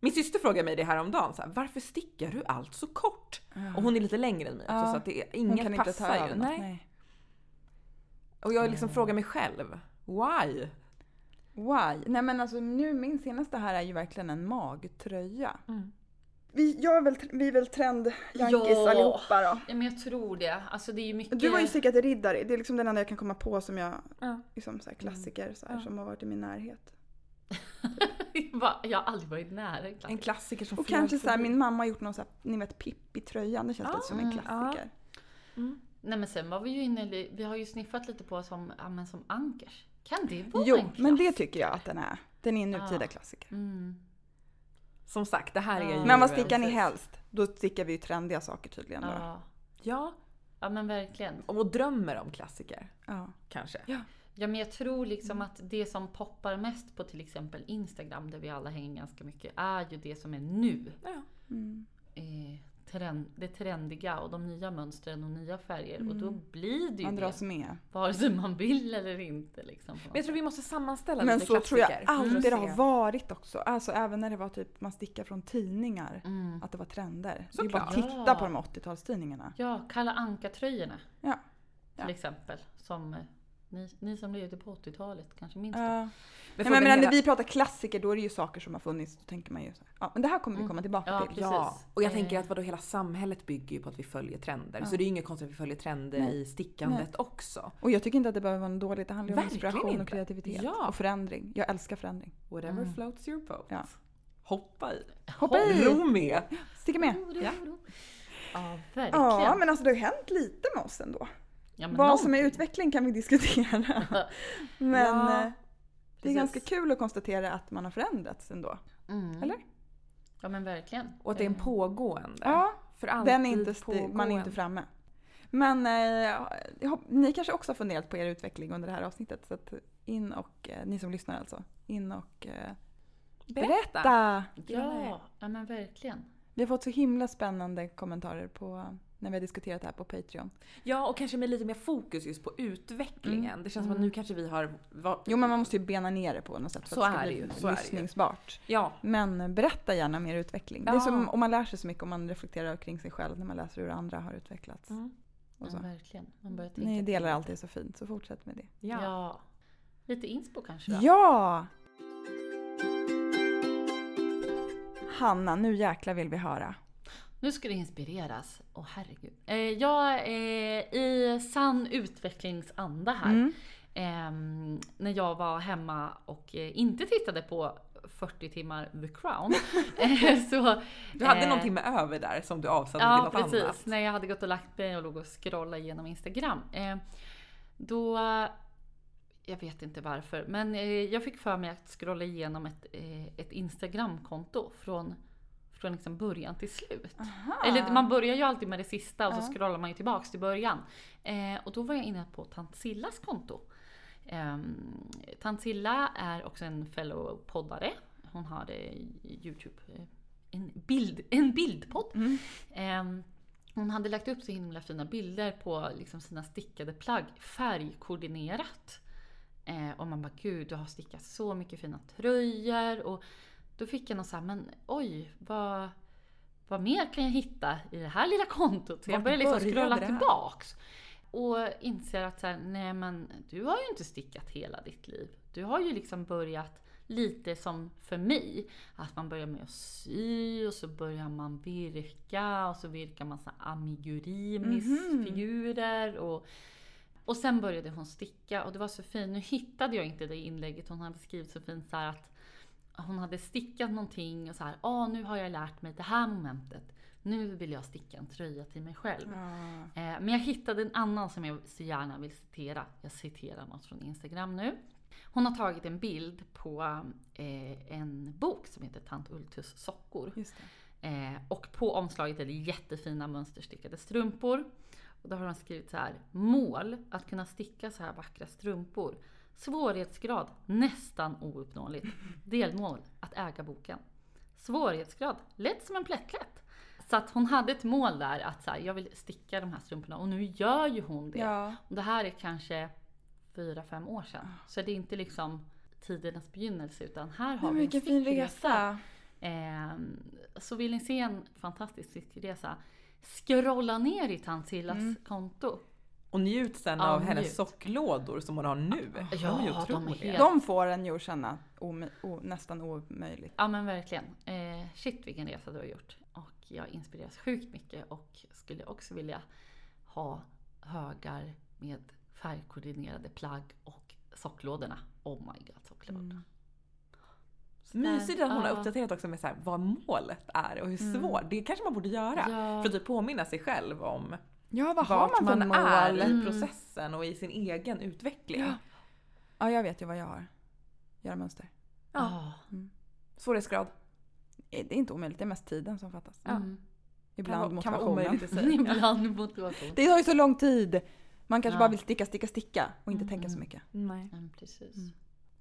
Min syster frågade mig det här om dagen. Så här, Varför stickar du allt så kort? Och hon är lite längre än mig också,
Ja.
så att det är,
Hon
inget
kan inte ta
passar
över
ju.
något.
Nej. Och jag liksom frågar mig själv. Why?
Why? Nej men alltså nu, min senaste här är ju verkligen en magtröja.
Mm.
Vi, jag är väl, vi är väl trend
Ja.
allihopa då.
Ja, men jag tror det. Alltså det är ju mycket...
Du har ju stickat riddare, det är liksom den enda jag kan komma på som jag,
Ja.
liksom så här klassiker så här,
Ja.
som har varit i min närhet.
Va? jag har aldrig varit nära en
En
klassiker.
klassiker som
Och
flyger
kanske så här,
förbi.
min mamma har gjort någon så här, ni vet Pippi-tröjan, det känns
Ah,
lite som en
mm,
klassiker.
Nej men sen var vi ju inne i- Vi har ju sniffat lite på som, ja, men som ankers. Kan det vara
Jo,
en klassiker?
men det tycker jag att den är. Den är en nutida
Ah.
klassiker.
Mm.
Som sagt, det här är
Ja.
ju...
Men vad stickar ni
Mm. Precis.
helst? Då stickar vi ju trendiga saker tydligen då.
Ja.
Ja,
ja men verkligen.
och drömmer om klassiker.
Ja.
Kanske.
Ja, men jag tror liksom att det som poppar mest på till exempel Instagram, där vi alla hänger ganska mycket, är ju det som är nu.
Ja.
Mm.
Eh, trend, det trendiga och de nya mönstren och nya färger. Och då blir det
Mm.
ju
Man dras
det,
med.
vare sig man vill eller inte. Liksom, på
Men
något
jag tror vi måste sammanställa
Men
lite
så tror
klassiker. Mm.
jag
för att
alltid det
se.
har varit också. Alltså även när det var typ man stickar från tidningar.
sätt. mm.
Att det var trender. det är bara
Såklart.
att titta
Ja.
på de 80-talstidningarna.
Ja, Kalla Anka-tröjorna.
Ja.
Till
Ja.
exempel. Som eh, ni, ni som levde på 80-talet kanske minns det.
Ja.
Men
Nej, men jag menar,
frågan är-
när vi pratar klassiker då är det ju saker som har funnits. Då tänker man ju så här, ja, men det här kommer vi
Mm.
komma tillbaka
Ja,
till.
precis.
Ja, och jag
Eh.
tänker att vadå, hela samhället bygger ju på att vi följer trender.
Ja.
Så det är ju inget konstigt att vi följer trender
Nej.
i stickandet också.
Och jag tycker inte att det behöver vara något dåligt. Det handlar ju om
Verkligen
inspiration och
inte.
kreativitet.
Ja.
Och förändring. Jag älskar förändring.
Whatever
Mm.
floats your boat.
Ja.
Hoppa i.
Hoppa i!
Ro med.
Sticka med!
Ro, ro,
Ja.
ro. Ja, Mm, verkligen.
Ja, men alltså det har ju hänt lite med oss ändå.
Ja, men
Vad som är
någonting.
utveckling kan vi diskutera. Men
Ja,
eh, det är
Precis.
ganska kul att konstatera att man har förändrats ändå.
Mm.
eller?
Ja men verkligen.
Och att det är en
Eh,
pågående.
Ja,
För alltid
den är inte sti- man är inte
pågående.
framme. Men eh, jag hopp- ni kanske också har funderat på er utveckling under det här avsnittet. Så att in och, eh, ni som lyssnar alltså, in och eh,
Berätta!
ta.
Ja, ja men verkligen.
Vi har fått så himla spännande kommentarer på, när vi har diskuterat det här på Patreon.
Ja, och kanske med lite mer fokus just på utvecklingen. Det känns som att nu kanske vi har... va-
Mm. Jo men man måste ju bena ner det på något sätt för
Så
att det
är
ska
det
bli
ju, så är det ju.
lyssningsbart.
Ja,
Men berätta gärna om er utveckling. Det är
Ja.
som om man lär sig så mycket om man reflekterar kring sig själv när man läser hur andra har utvecklats.
Mm.
Och
Ja,
så.
verkligen. Man börjar tänka.
Ni delar alltid så fint, så fortsätt med det.
ja.
Ja. Lite inspo kanske då.
Ja! Hanna, nu jäkla vill vi höra.
Nu ska det inspireras. Åh herregud. Eh, jag är i sann utvecklingsanda här.
Mm.
Ehm, när jag var hemma och eh, inte tittade på 40 timmar The Crown. eh, så,
Du hade
eh,
någon timme över där som du avsatte till
Ja
något
precis,
annat.
när jag hade gått och lagt mig och låg och scrollade igenom Instagram. Eh, då, jag vet inte varför, men eh, jag fick för mig att scrolla igenom ett, eh, ett Instagramkonto från, från liksom början till slut. Eller man börjar ju alltid med det sista och så
Ja.
scrollar man ju tillbaks till början. Eh, och då var jag inne på Tant Sillas konto. Ehm, Tant Silla är också en fellow poddare. Hon har eh, Youtube, eh, en, bild, en bildpodd.
Mm.
Ehm, hon hade lagt upp så himla fina bilder på liksom sina stickade plagg färgkoordinerat. Eh, och man bara gud du har stickat så mycket fina tröjor. Och då fick jag någon så här, men oj vad, vad mer kan jag hitta i det här lilla kontot? Så jag
Vart
började liksom
började
scrolla
det här?
tillbaks. Och inser att så här, nej men du har ju inte stickat hela ditt liv. Du har ju liksom börjat lite som för mig. Att man börjar med att sy och så börjar man virka och så virkar man så här
Mhm.
amigurimis-figurer. Och, och sen började hon sticka och det var så fint. Nu hittade jag inte det inlägget hon hade skrivit så fint så här att hon hade stickat någonting och så här, ah, nu har jag lärt mig det här momentet. nu vill jag sticka en tröja till mig själv.
Ja.
Eh, men jag hittade en annan som jag så gärna vill citera. Jag citerar något från Instagram nu. Hon har tagit en bild på eh, en bok som heter Tant Ultus sockor.
Just det.
Eh, och på omslaget är det jättefina mönsterstickade strumpor. Och då har hon skrivit så här. Mål, att kunna sticka så här vackra strumpor. Svårighetsgrad, nästan ouppnåeligt. Delmål, att äga boken. Svårighetsgrad, lätt som en plättlätt. Så att hon hade ett mål där att så här, jag vill sticka de här strumporna och nu gör ju hon det.
Ja.
Och det här är kanske fyra fem år sedan. Så det är inte liksom tidernas begynnelse utan här har
Nej, men
vi en
vilken fin
stickresa.
resa.
Ehm, så vill ni se en fantastisk cykelresa, scrolla ner i Tansillas konto.
Och njut sen
Ja,
av hennes
njut.
socklådor som hon har nu.
Ja,
de är
de
ju
är
otroliga.
helt-
De får en ju att känna ome- o- nästan omöjligt.
Ja men verkligen. Eh, shit vilken resa du har gjort. Och jag inspireras sjukt mycket och skulle också vilja ha högar med färgkoordinerade plagg och socklådorna. Oh my god, socklådor.
Mm.
Så där-
Mysigt att hon har
ja.
uppdaterat också med så här, vad målet är och hur svårt. Det kanske man borde göra.
Ja.
För att typ påminna sig själv om
Ja, vad har
vart
man för
man, är
mål?
i processen och i sin egen utveckling.
Ja. Ja, jag vet ju vad jag har. Göra mönster.
Ja.
Svårighetsgrad.
Det är inte omöjligt, det är mest tiden som fattas.
Mm.
Ibland
kan, vara- kan vara
motivationen.
omöjligt i sig.
Ibland motivation.
Det tar ju så lång tid. Man kanske
Ja.
bara vill sticka, sticka, sticka och inte tänka så mycket.
Nej.
Mm, precis.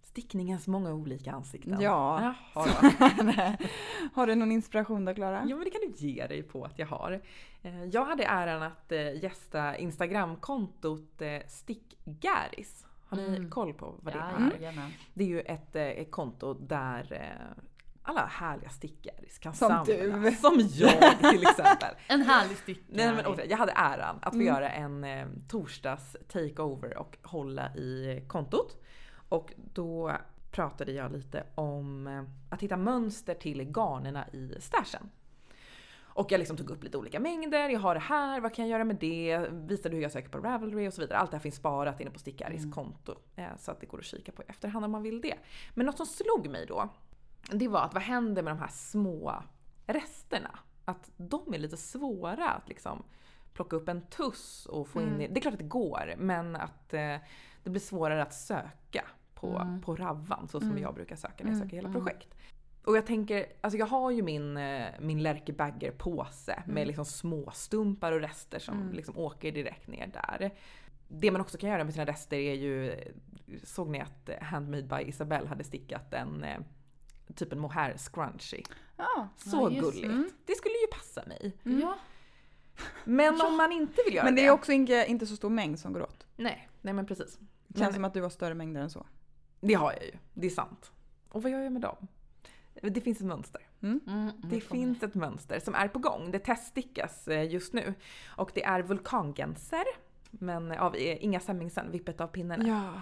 Stickningens många olika ansikten.
Ja.
Jaha, då.
har du någon inspiration då Klara?
Ja men det kan du ge dig på att jag har. Eh, Jag hade äran att eh, gästa Instagramkontot eh, Stickgaris. Har ni
Mm.
koll på vad det är?
Jajamän.
Det är ju ett, eh, ett konto där eh, alla härliga stickgaris kan
Som
samlas.
du.
Som jag till exempel.
En härlig stycke.
Nej, men, återigen, jag hade äran att få göra en eh, torsdags takeover och hålla i kontot. Och då pratade jag lite om eh, att hitta mönster till garnerna i stashen. Och jag liksom tog upp lite olika mängder, jag har det här, vad kan jag göra med det? Visade hur jag söker på Ravelry och så vidare. Allt det här finns sparat inne på Stickaris konto. eh, Så att det går att kika på i efterhand om man vill det. Men något som slog mig då, det var att vad händer med de här små resterna? Att de är lite svåra att liksom plocka upp en tuss och få in i. Det är klart att det går, men att eh, det blir svårare att söka på, på Ravvan så som jag brukar söka när jag söker hela projekt. Och jag tänker, alltså jag har ju min, eh, min Lerke Bagger-påse
Mm.
med liksom små stumpar och rester som liksom åker direkt ner där. Det man också kan göra med sina rester är ju, såg ni att Handmade by Isabelle hade stickat en eh, typ en mohair scrunchie.
Ja.
Så
Ja, just-
gulligt.
Mm.
Det skulle ju passa mig.
Ja.
Men om man inte vill göra
Men
det.
det är också inte, inte så stor mängd som går åt.
Nej, nej men precis.
Det känns
Men-
som att du har större mängder än så.
Det har jag ju. Det är sant. Och vad gör jag med dem? Det finns ett mönster.
Mm, nu
Det
kommer
finns ett mönster som är på gång. Det teststickas eh, just nu. Och det är vulkangenser. Men av eh, Inga Semmingsen, Vippet av pinnarna. Ja.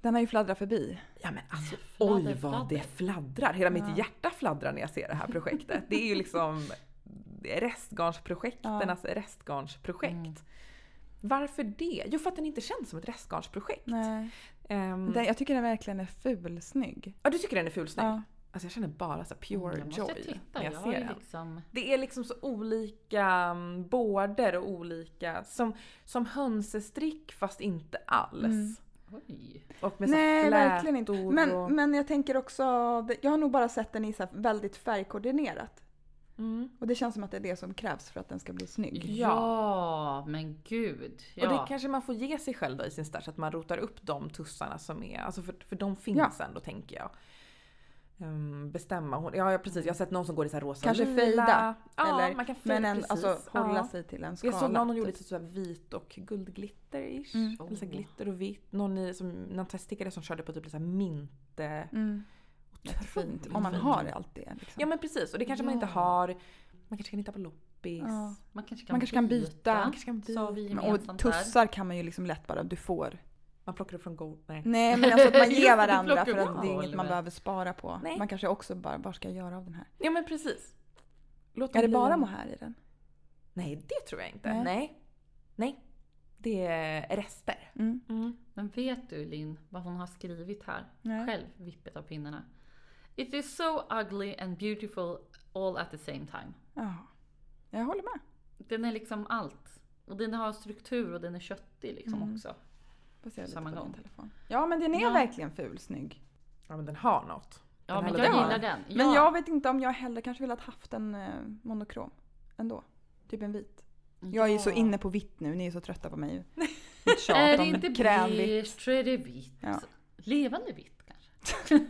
Den har ju fladdrat förbi.
men alltså
Fladder,
oj vad
fladder.
det fladdrar. Hela mitt hjärta fladdrar när jag ser det här projektet. Det är ju liksom restgarnsprojekternas restgarnsprojekt.
Mm.
Varför det? Jo för att den inte känns som ett restgarnsprojekt.
Nej.
Ehm,
Den, jag tycker den verkligen är fulsnygg.
ja, du tycker den är fulsnygg?
Ja.
Alltså jag känner bara så här pure
Mm, Jag måste
joy
titta,
när jag,
jag har
ser
ju
den.
liksom...
Det är liksom så olika mm, bårder och olika, som, som hönsestrick fast inte alls.
Oj.
Och med så här
Mm. Nej,
flätor
verkligen inte.
och-
Men, men jag tänker också, jag har nog bara sett den i så här väldigt färgkoordinerat.
Mm.
Och det känns som att det är det som krävs för att den ska bli snygg.
Ja. men gud. Ja.
Och det kanske man får ge sig själv då i sin stash, att man rotar upp de tussarna som är, alltså för, för de finns ändå tänker jag. Ehm, bestämma. Hon- Ja, ja precis, jag har sett någon som går i så här rosa
Kanske
lila.
fejda,
Ja,
eller-
man kan fejda,
Men en,
precis.
alltså hålla
Ja.
sig till en skala.
Jag såg någon som gjorde
typ.
typ så här vit och guldglitter-ish.
Mm.
Eller så här
Oh.
glitter och vitt. Någon, i, som, någon teststickare som körde på typ så här mint. eh,
Mm. Fint, om man
fint.
har allt det. Liksom.
Ja men precis och det kanske man inte
Ja.
har. Man kanske kan hitta på loppis.
Ja.
man kanske kan,
Man kanske kan byta.
Man
Man
kanske kan
Sa vi
Men- och
gemensamt där.
tussar kan man ju liksom lätt bara, du får.
Man plockar upp från Go. Nej.
Nej men alltså att man
Just
ger
det,
varandra
plocka
för
upp
att det är
golvet.
inget man behöver spara på.
Nej.
Man kanske också bara, vad ska jag göra av den här?
Ja men precis. Låt
Är det
bli
bara
en-
mohair i den?
Nej det tror jag inte. Nej.
Nej.
Nej. Det är rester.
Mm.
Men vet du Linn vad hon har skrivit här?
Nej.
Själv, vippet av pinnarna. It is so ugly and beautiful all at the same time.
Ja. Jag håller med.
Den är liksom allt. Och den har struktur och den är köttig liksom
Mm.
också.
Får se lite
Samma
på min
gång.
Telefon. Ja men den är
Ja.
verkligen ful snygg.
Ja men den har något.
Ja
Den
men
här
jag
låten.
gillar den. Ja.
Men jag vet inte om jag heller kanske velat haft en eh, monokrom ändå. Typ en vit. Jag är ju så
Ja.
inne på vitt nu, ni är ju så trötta på mig. Mitt tjat
Är det
om
inte
krämvitt.
beige så är det vitt.
Ja.
Levande vitt kanske?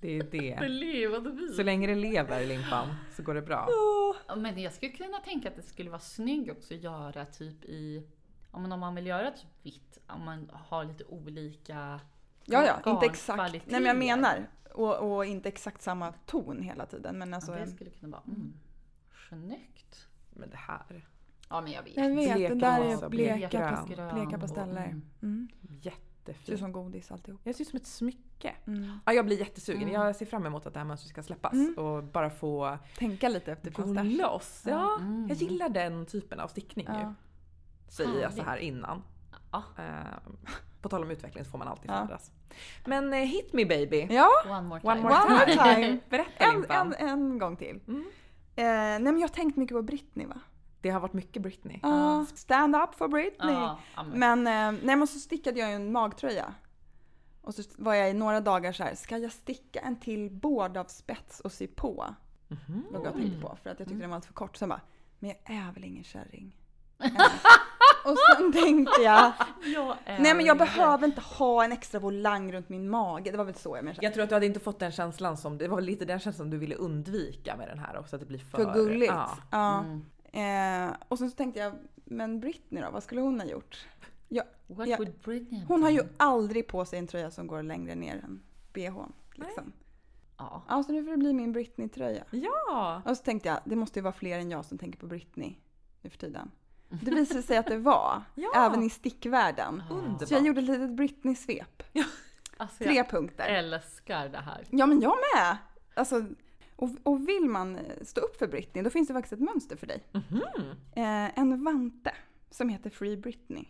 Det är
Det är
det.
levande vitt.
Så länge det lever limpan så går det bra.
Åh,
Ja, Men jag skulle kunna tänka att det skulle vara snyggt också att göra typ i, ja, men om man vill göra typ vitt, om man har lite olika
Alltså Ja, ja, inte
garnkvaliteter.
exakt. Nej men jag menar. Och, och inte exakt samma ton hela tiden. Men alltså,
ja, det
en-
skulle kunna vara mm, snyggt.
Men det här.
Ja men jag vet.
jag vet, den där
Bleka
är
rosa,
bleka,
bleka
pas-
grön
bleka
och-
pasteller.
mm.
Mm.
Typ.
Ser ut
Jättefint.
som godis alltihop.
Jag ser ut som ett smycke.
Mm.
Ja, jag blir jättesugen.
Mm.
Jag ser fram emot att det här mönstret ska släppas
Mm.
och bara få
Tänka lite efter
gå
pastasch.
loss. Ja,
Mm.
jag gillar den typen av stickning ju.
Ja.
Säger jag så här innan.
Ja.
Eh, på tal om utveckling så får man alltid
Ja.
förändras. Men eh, hit me baby.
ja,
One more time.
One more
One more
time.
time.
Berätta
en,
Limpan.
en, en gång till.
Mm.
Eh, nej men jag har tänkt mycket på Britney va?
Det har varit mycket Britney.
Ja. Stand up for Britney.
Ja, ja, men,
Men, eh, nej, men så stickade jag ju en magtröja. Och så var jag i några dagar så här, ska jag sticka en till bård av spets och sy på?
Mhm.
Låg jag
Oj.
bild på för att jag tyckte
Mm.
den var alldeles för kort. Sen bara, men jag är väl ingen kärring. Eller? och sen tänkte jag,
jag är
nej men jag
lite-
behöver inte ha en extra volang runt min mage. Det var väl så jag menade.
Jag tror att du hade inte fått den känslan som, det var väl lite den känslan du ville undvika med den här också. Att det blir för...
För gulligt.
Ja.
Ja.
Mm.
Eh, och sen så tänkte jag, men Britney då, vad skulle hon ha gjort?
What
Ja.
would Britney have
Hon har ju
Mm.
done?
aldrig på sig en tröja som går längre ner än bhn. Liksom.
Ja.
Ja, så nu får det bli min Britney-tröja.
ja.
Och så tänkte jag, det måste ju vara fler än jag som tänker på Britney nu för tiden. Det visade sig att det var,
Ja.
även i stickvärlden.
Underbart.
Så jag gjorde ett litet Britney-svep.
Alltså,
Tre
jag
punkter.
älskar det här.
Ja, men jag med! Alltså, och, och vill man eh, stå upp för Britney, då finns det faktiskt ett mönster för dig.
Mhm.
Eh, en vante som heter Free Britney.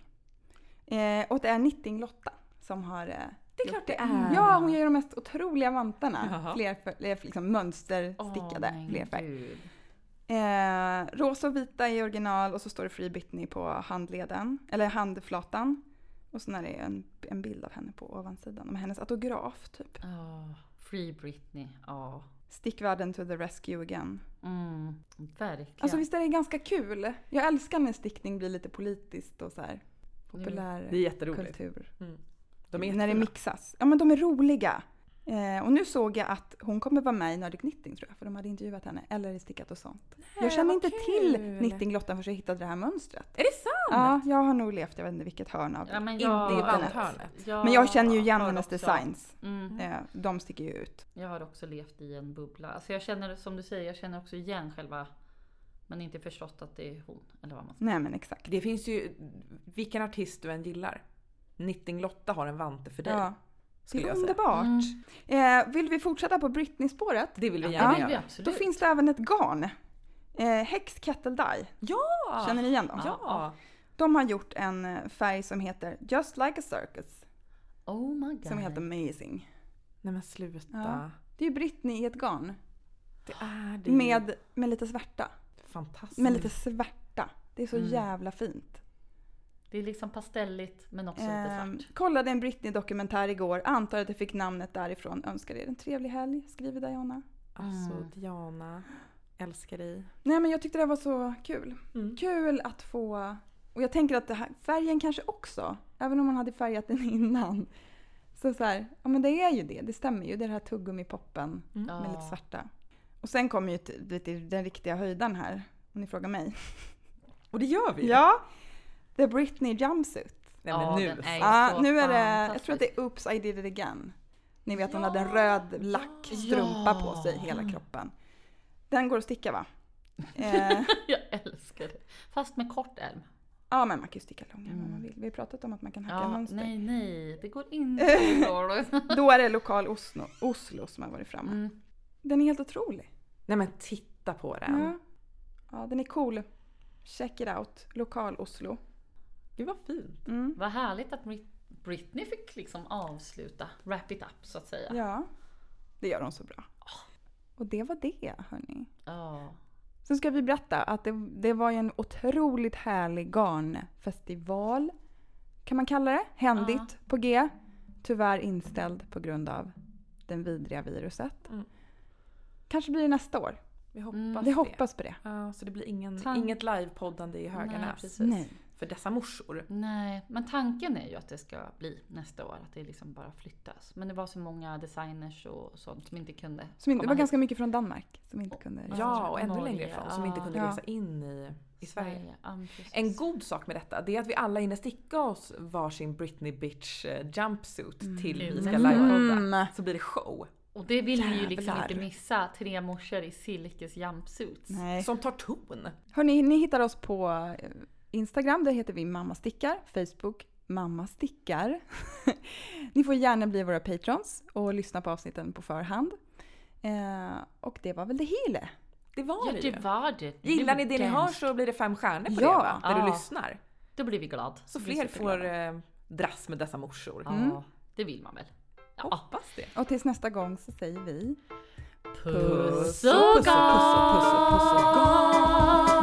Eh, och det är Knitting-Lotta som har eh,
Det är klart det är.
Ja, hon gör ju de mest otroliga vantarna.
Jaha.
Fler, fler, liksom mönsterstickade,
Åh, men
flerfärg.
gud.
Eh, rosa och vita i original och så står det Free Britney på handleden, eller handflatan. Och sen är det en, en bild av henne på ovansidan med hennes autograf typ.
Ja, Free Britney. Ja.
Stickvärlden to the rescue again.
Mm, verkligen.
Alltså visst är det ganska kul? Jag älskar när stickning blir lite politiskt och så här
Nu-
Det är
populär
jätteroligt.
kultur.
De är
när det
jättefina.
mixas. Ja men de är roliga. Eh, och nu såg jag att hon kommer vara med i Nordic Knitting tror jag, för de hade intervjuat henne. Eller i Stickat och sånt. jag känner
vad
inte
kul.
till knittinglottan förrän jag hittade det här mönstret.
Är det sant?
Ja, jag har nog levt, jag vet inte vilket hörn av
Ja, men
Inte
jag,
i vanthörnet.
Men jag känner ju igen
har
hennes
också-
designs.
Mm,
Eh, de sticker ju ut.
jag har också levt i en bubbla. Alltså jag känner som du säger, jag känner också igen själva men inte förstått att det är hon. Eller vad man ska.
Nej men exakt.
Det finns ju, vilken artist du än gillar. Knitting Lotta har en vante för dig.
Ja, det
skulle
är
jag säga.
underbart.
Mm.
Eh, vill vi fortsätta på Britney-spåret?
Det vill
Ja,
vi gärna
det vill vi
göra.
Då
absolut.
finns det även ett garn. Eh, Hex Kettle Dye.
Ja.
Känner ni igen dem?
Ja.
De har gjort en eh, färg som heter Just Like a Circus.
Oh my god.
Som är helt amazing.
Nej men sluta.
Ja. Det är ju Britney i ett garn.
Det är det. ju. Mm.
Med, med lite svärta.
Fantastiskt.
Med lite svärta. Det är så
Mm.
jävla fint.
Det är liksom pastelligt men också
Ehm,
lite svart.
kollade en Britney-dokumentär igår. Antar att det fick namnet därifrån. Önskar er en trevlig helg. Skriver Diana.
Alltså
Mm.
Diana, älskar dig.
Nej men jag tyckte det här var så kul.
Mm.
Kul att få... Och jag tänker att det här, färgen kanske också. Även om man hade färgat den innan. Så så här, ja men det är ju det. Det stämmer ju. Det är det här tuggummi-poppen.
Ja.
med lite svarta. Och sen kommer ju till, du vet, till den riktiga höjden här, om ni frågar mig.
Och det gör vi.
Ja! The Britney Jumpsuit.
Nej men
Ja,
nu.
den
så.
är ju
Ja,
så
nu är det, jag
fantastisk.
tror att det är Oops I did it again. Ni vet hon
Ja.
hade en röd lackstrumpa
Ja.
på sig hela kroppen. Den går att sticka va? Eh,
Jag älskar det. Fast med kort ärm.
ja men man kan ju sticka långa om
Mm.
man vill. Vi har pratat om att man kan hacka
Ja,
mönster.
nej, nej. Det går inte.
Då är det lokal Oslo, Oslo som har varit framme.
mm.
Den är helt otrolig.
Nej men titta på den.
Ja. ja, den är cool. Check it out. Lokal Oslo.
Gud vad fint.
Mm.
Vad härligt att Brit- Britney fick liksom avsluta, wrap it up så att säga. Ah.
Ja, det gör de så bra. Och det var det, hörni.
Ja.
Sen ska vi berätta att det, det var ju en otroligt härlig garnfestival. Kan man kalla det? Händigt på G. Tyvärr inställd på grund av den vidriga viruset.
Mm.
Kanske blir det nästa år.
Vi
Mm.
hoppas
Vi
det.
hoppas på det.
Ja, så det blir ingen,
Tan-
inget livepoddande i
Nej,
Höganäs
precis.
Nej.
för dessa morsor.
Nej, men tanken är ju att det ska bli nästa år, att det liksom bara flyttas. Men det var så många designers och sånt som inte kunde
Som inte, det
komma
var
hit.
ganska mycket från Danmark som inte
Och-
kunde
Ja,
Ja, och ännu
Norge,
längre ifrån som inte kunde
ja.
resa in i, i Sverige.
Ja, men precis.
En god sak med detta det är att vi alla inne stickar oss varsin Britney bitch eh, jumpsuit till vi ska
Mm.
livepodda. Så blir det show.
Och det vill vi ju liksom
Jävlar.
inte missa. Tre morsor i silkes jumpsuits.
Nej.
Som tar ton.
Hörni, ni hittar oss på eh, Instagram, där heter vi Mamma Stickar. Facebook, Mamma Stickar. ni får gärna bli våra patrons och lyssna på avsnitten på förhand. Eh, och det var väl det hela.
Det var
Ja,
det ju.
det var det.
Gillar ni det ni hör
har
så blir det fem stjärnor på
Ja.
det va? Där
Ja.
du lyssnar.
Då blir vi glada.
Så Alltså, fler får eh, dras med dessa morsor.
Mm.
Ja, det vill man väl. Ja.
Hoppas det.
Och tills nästa gång så säger vi...
Puss och
puss och puss och puss och puss och
puss och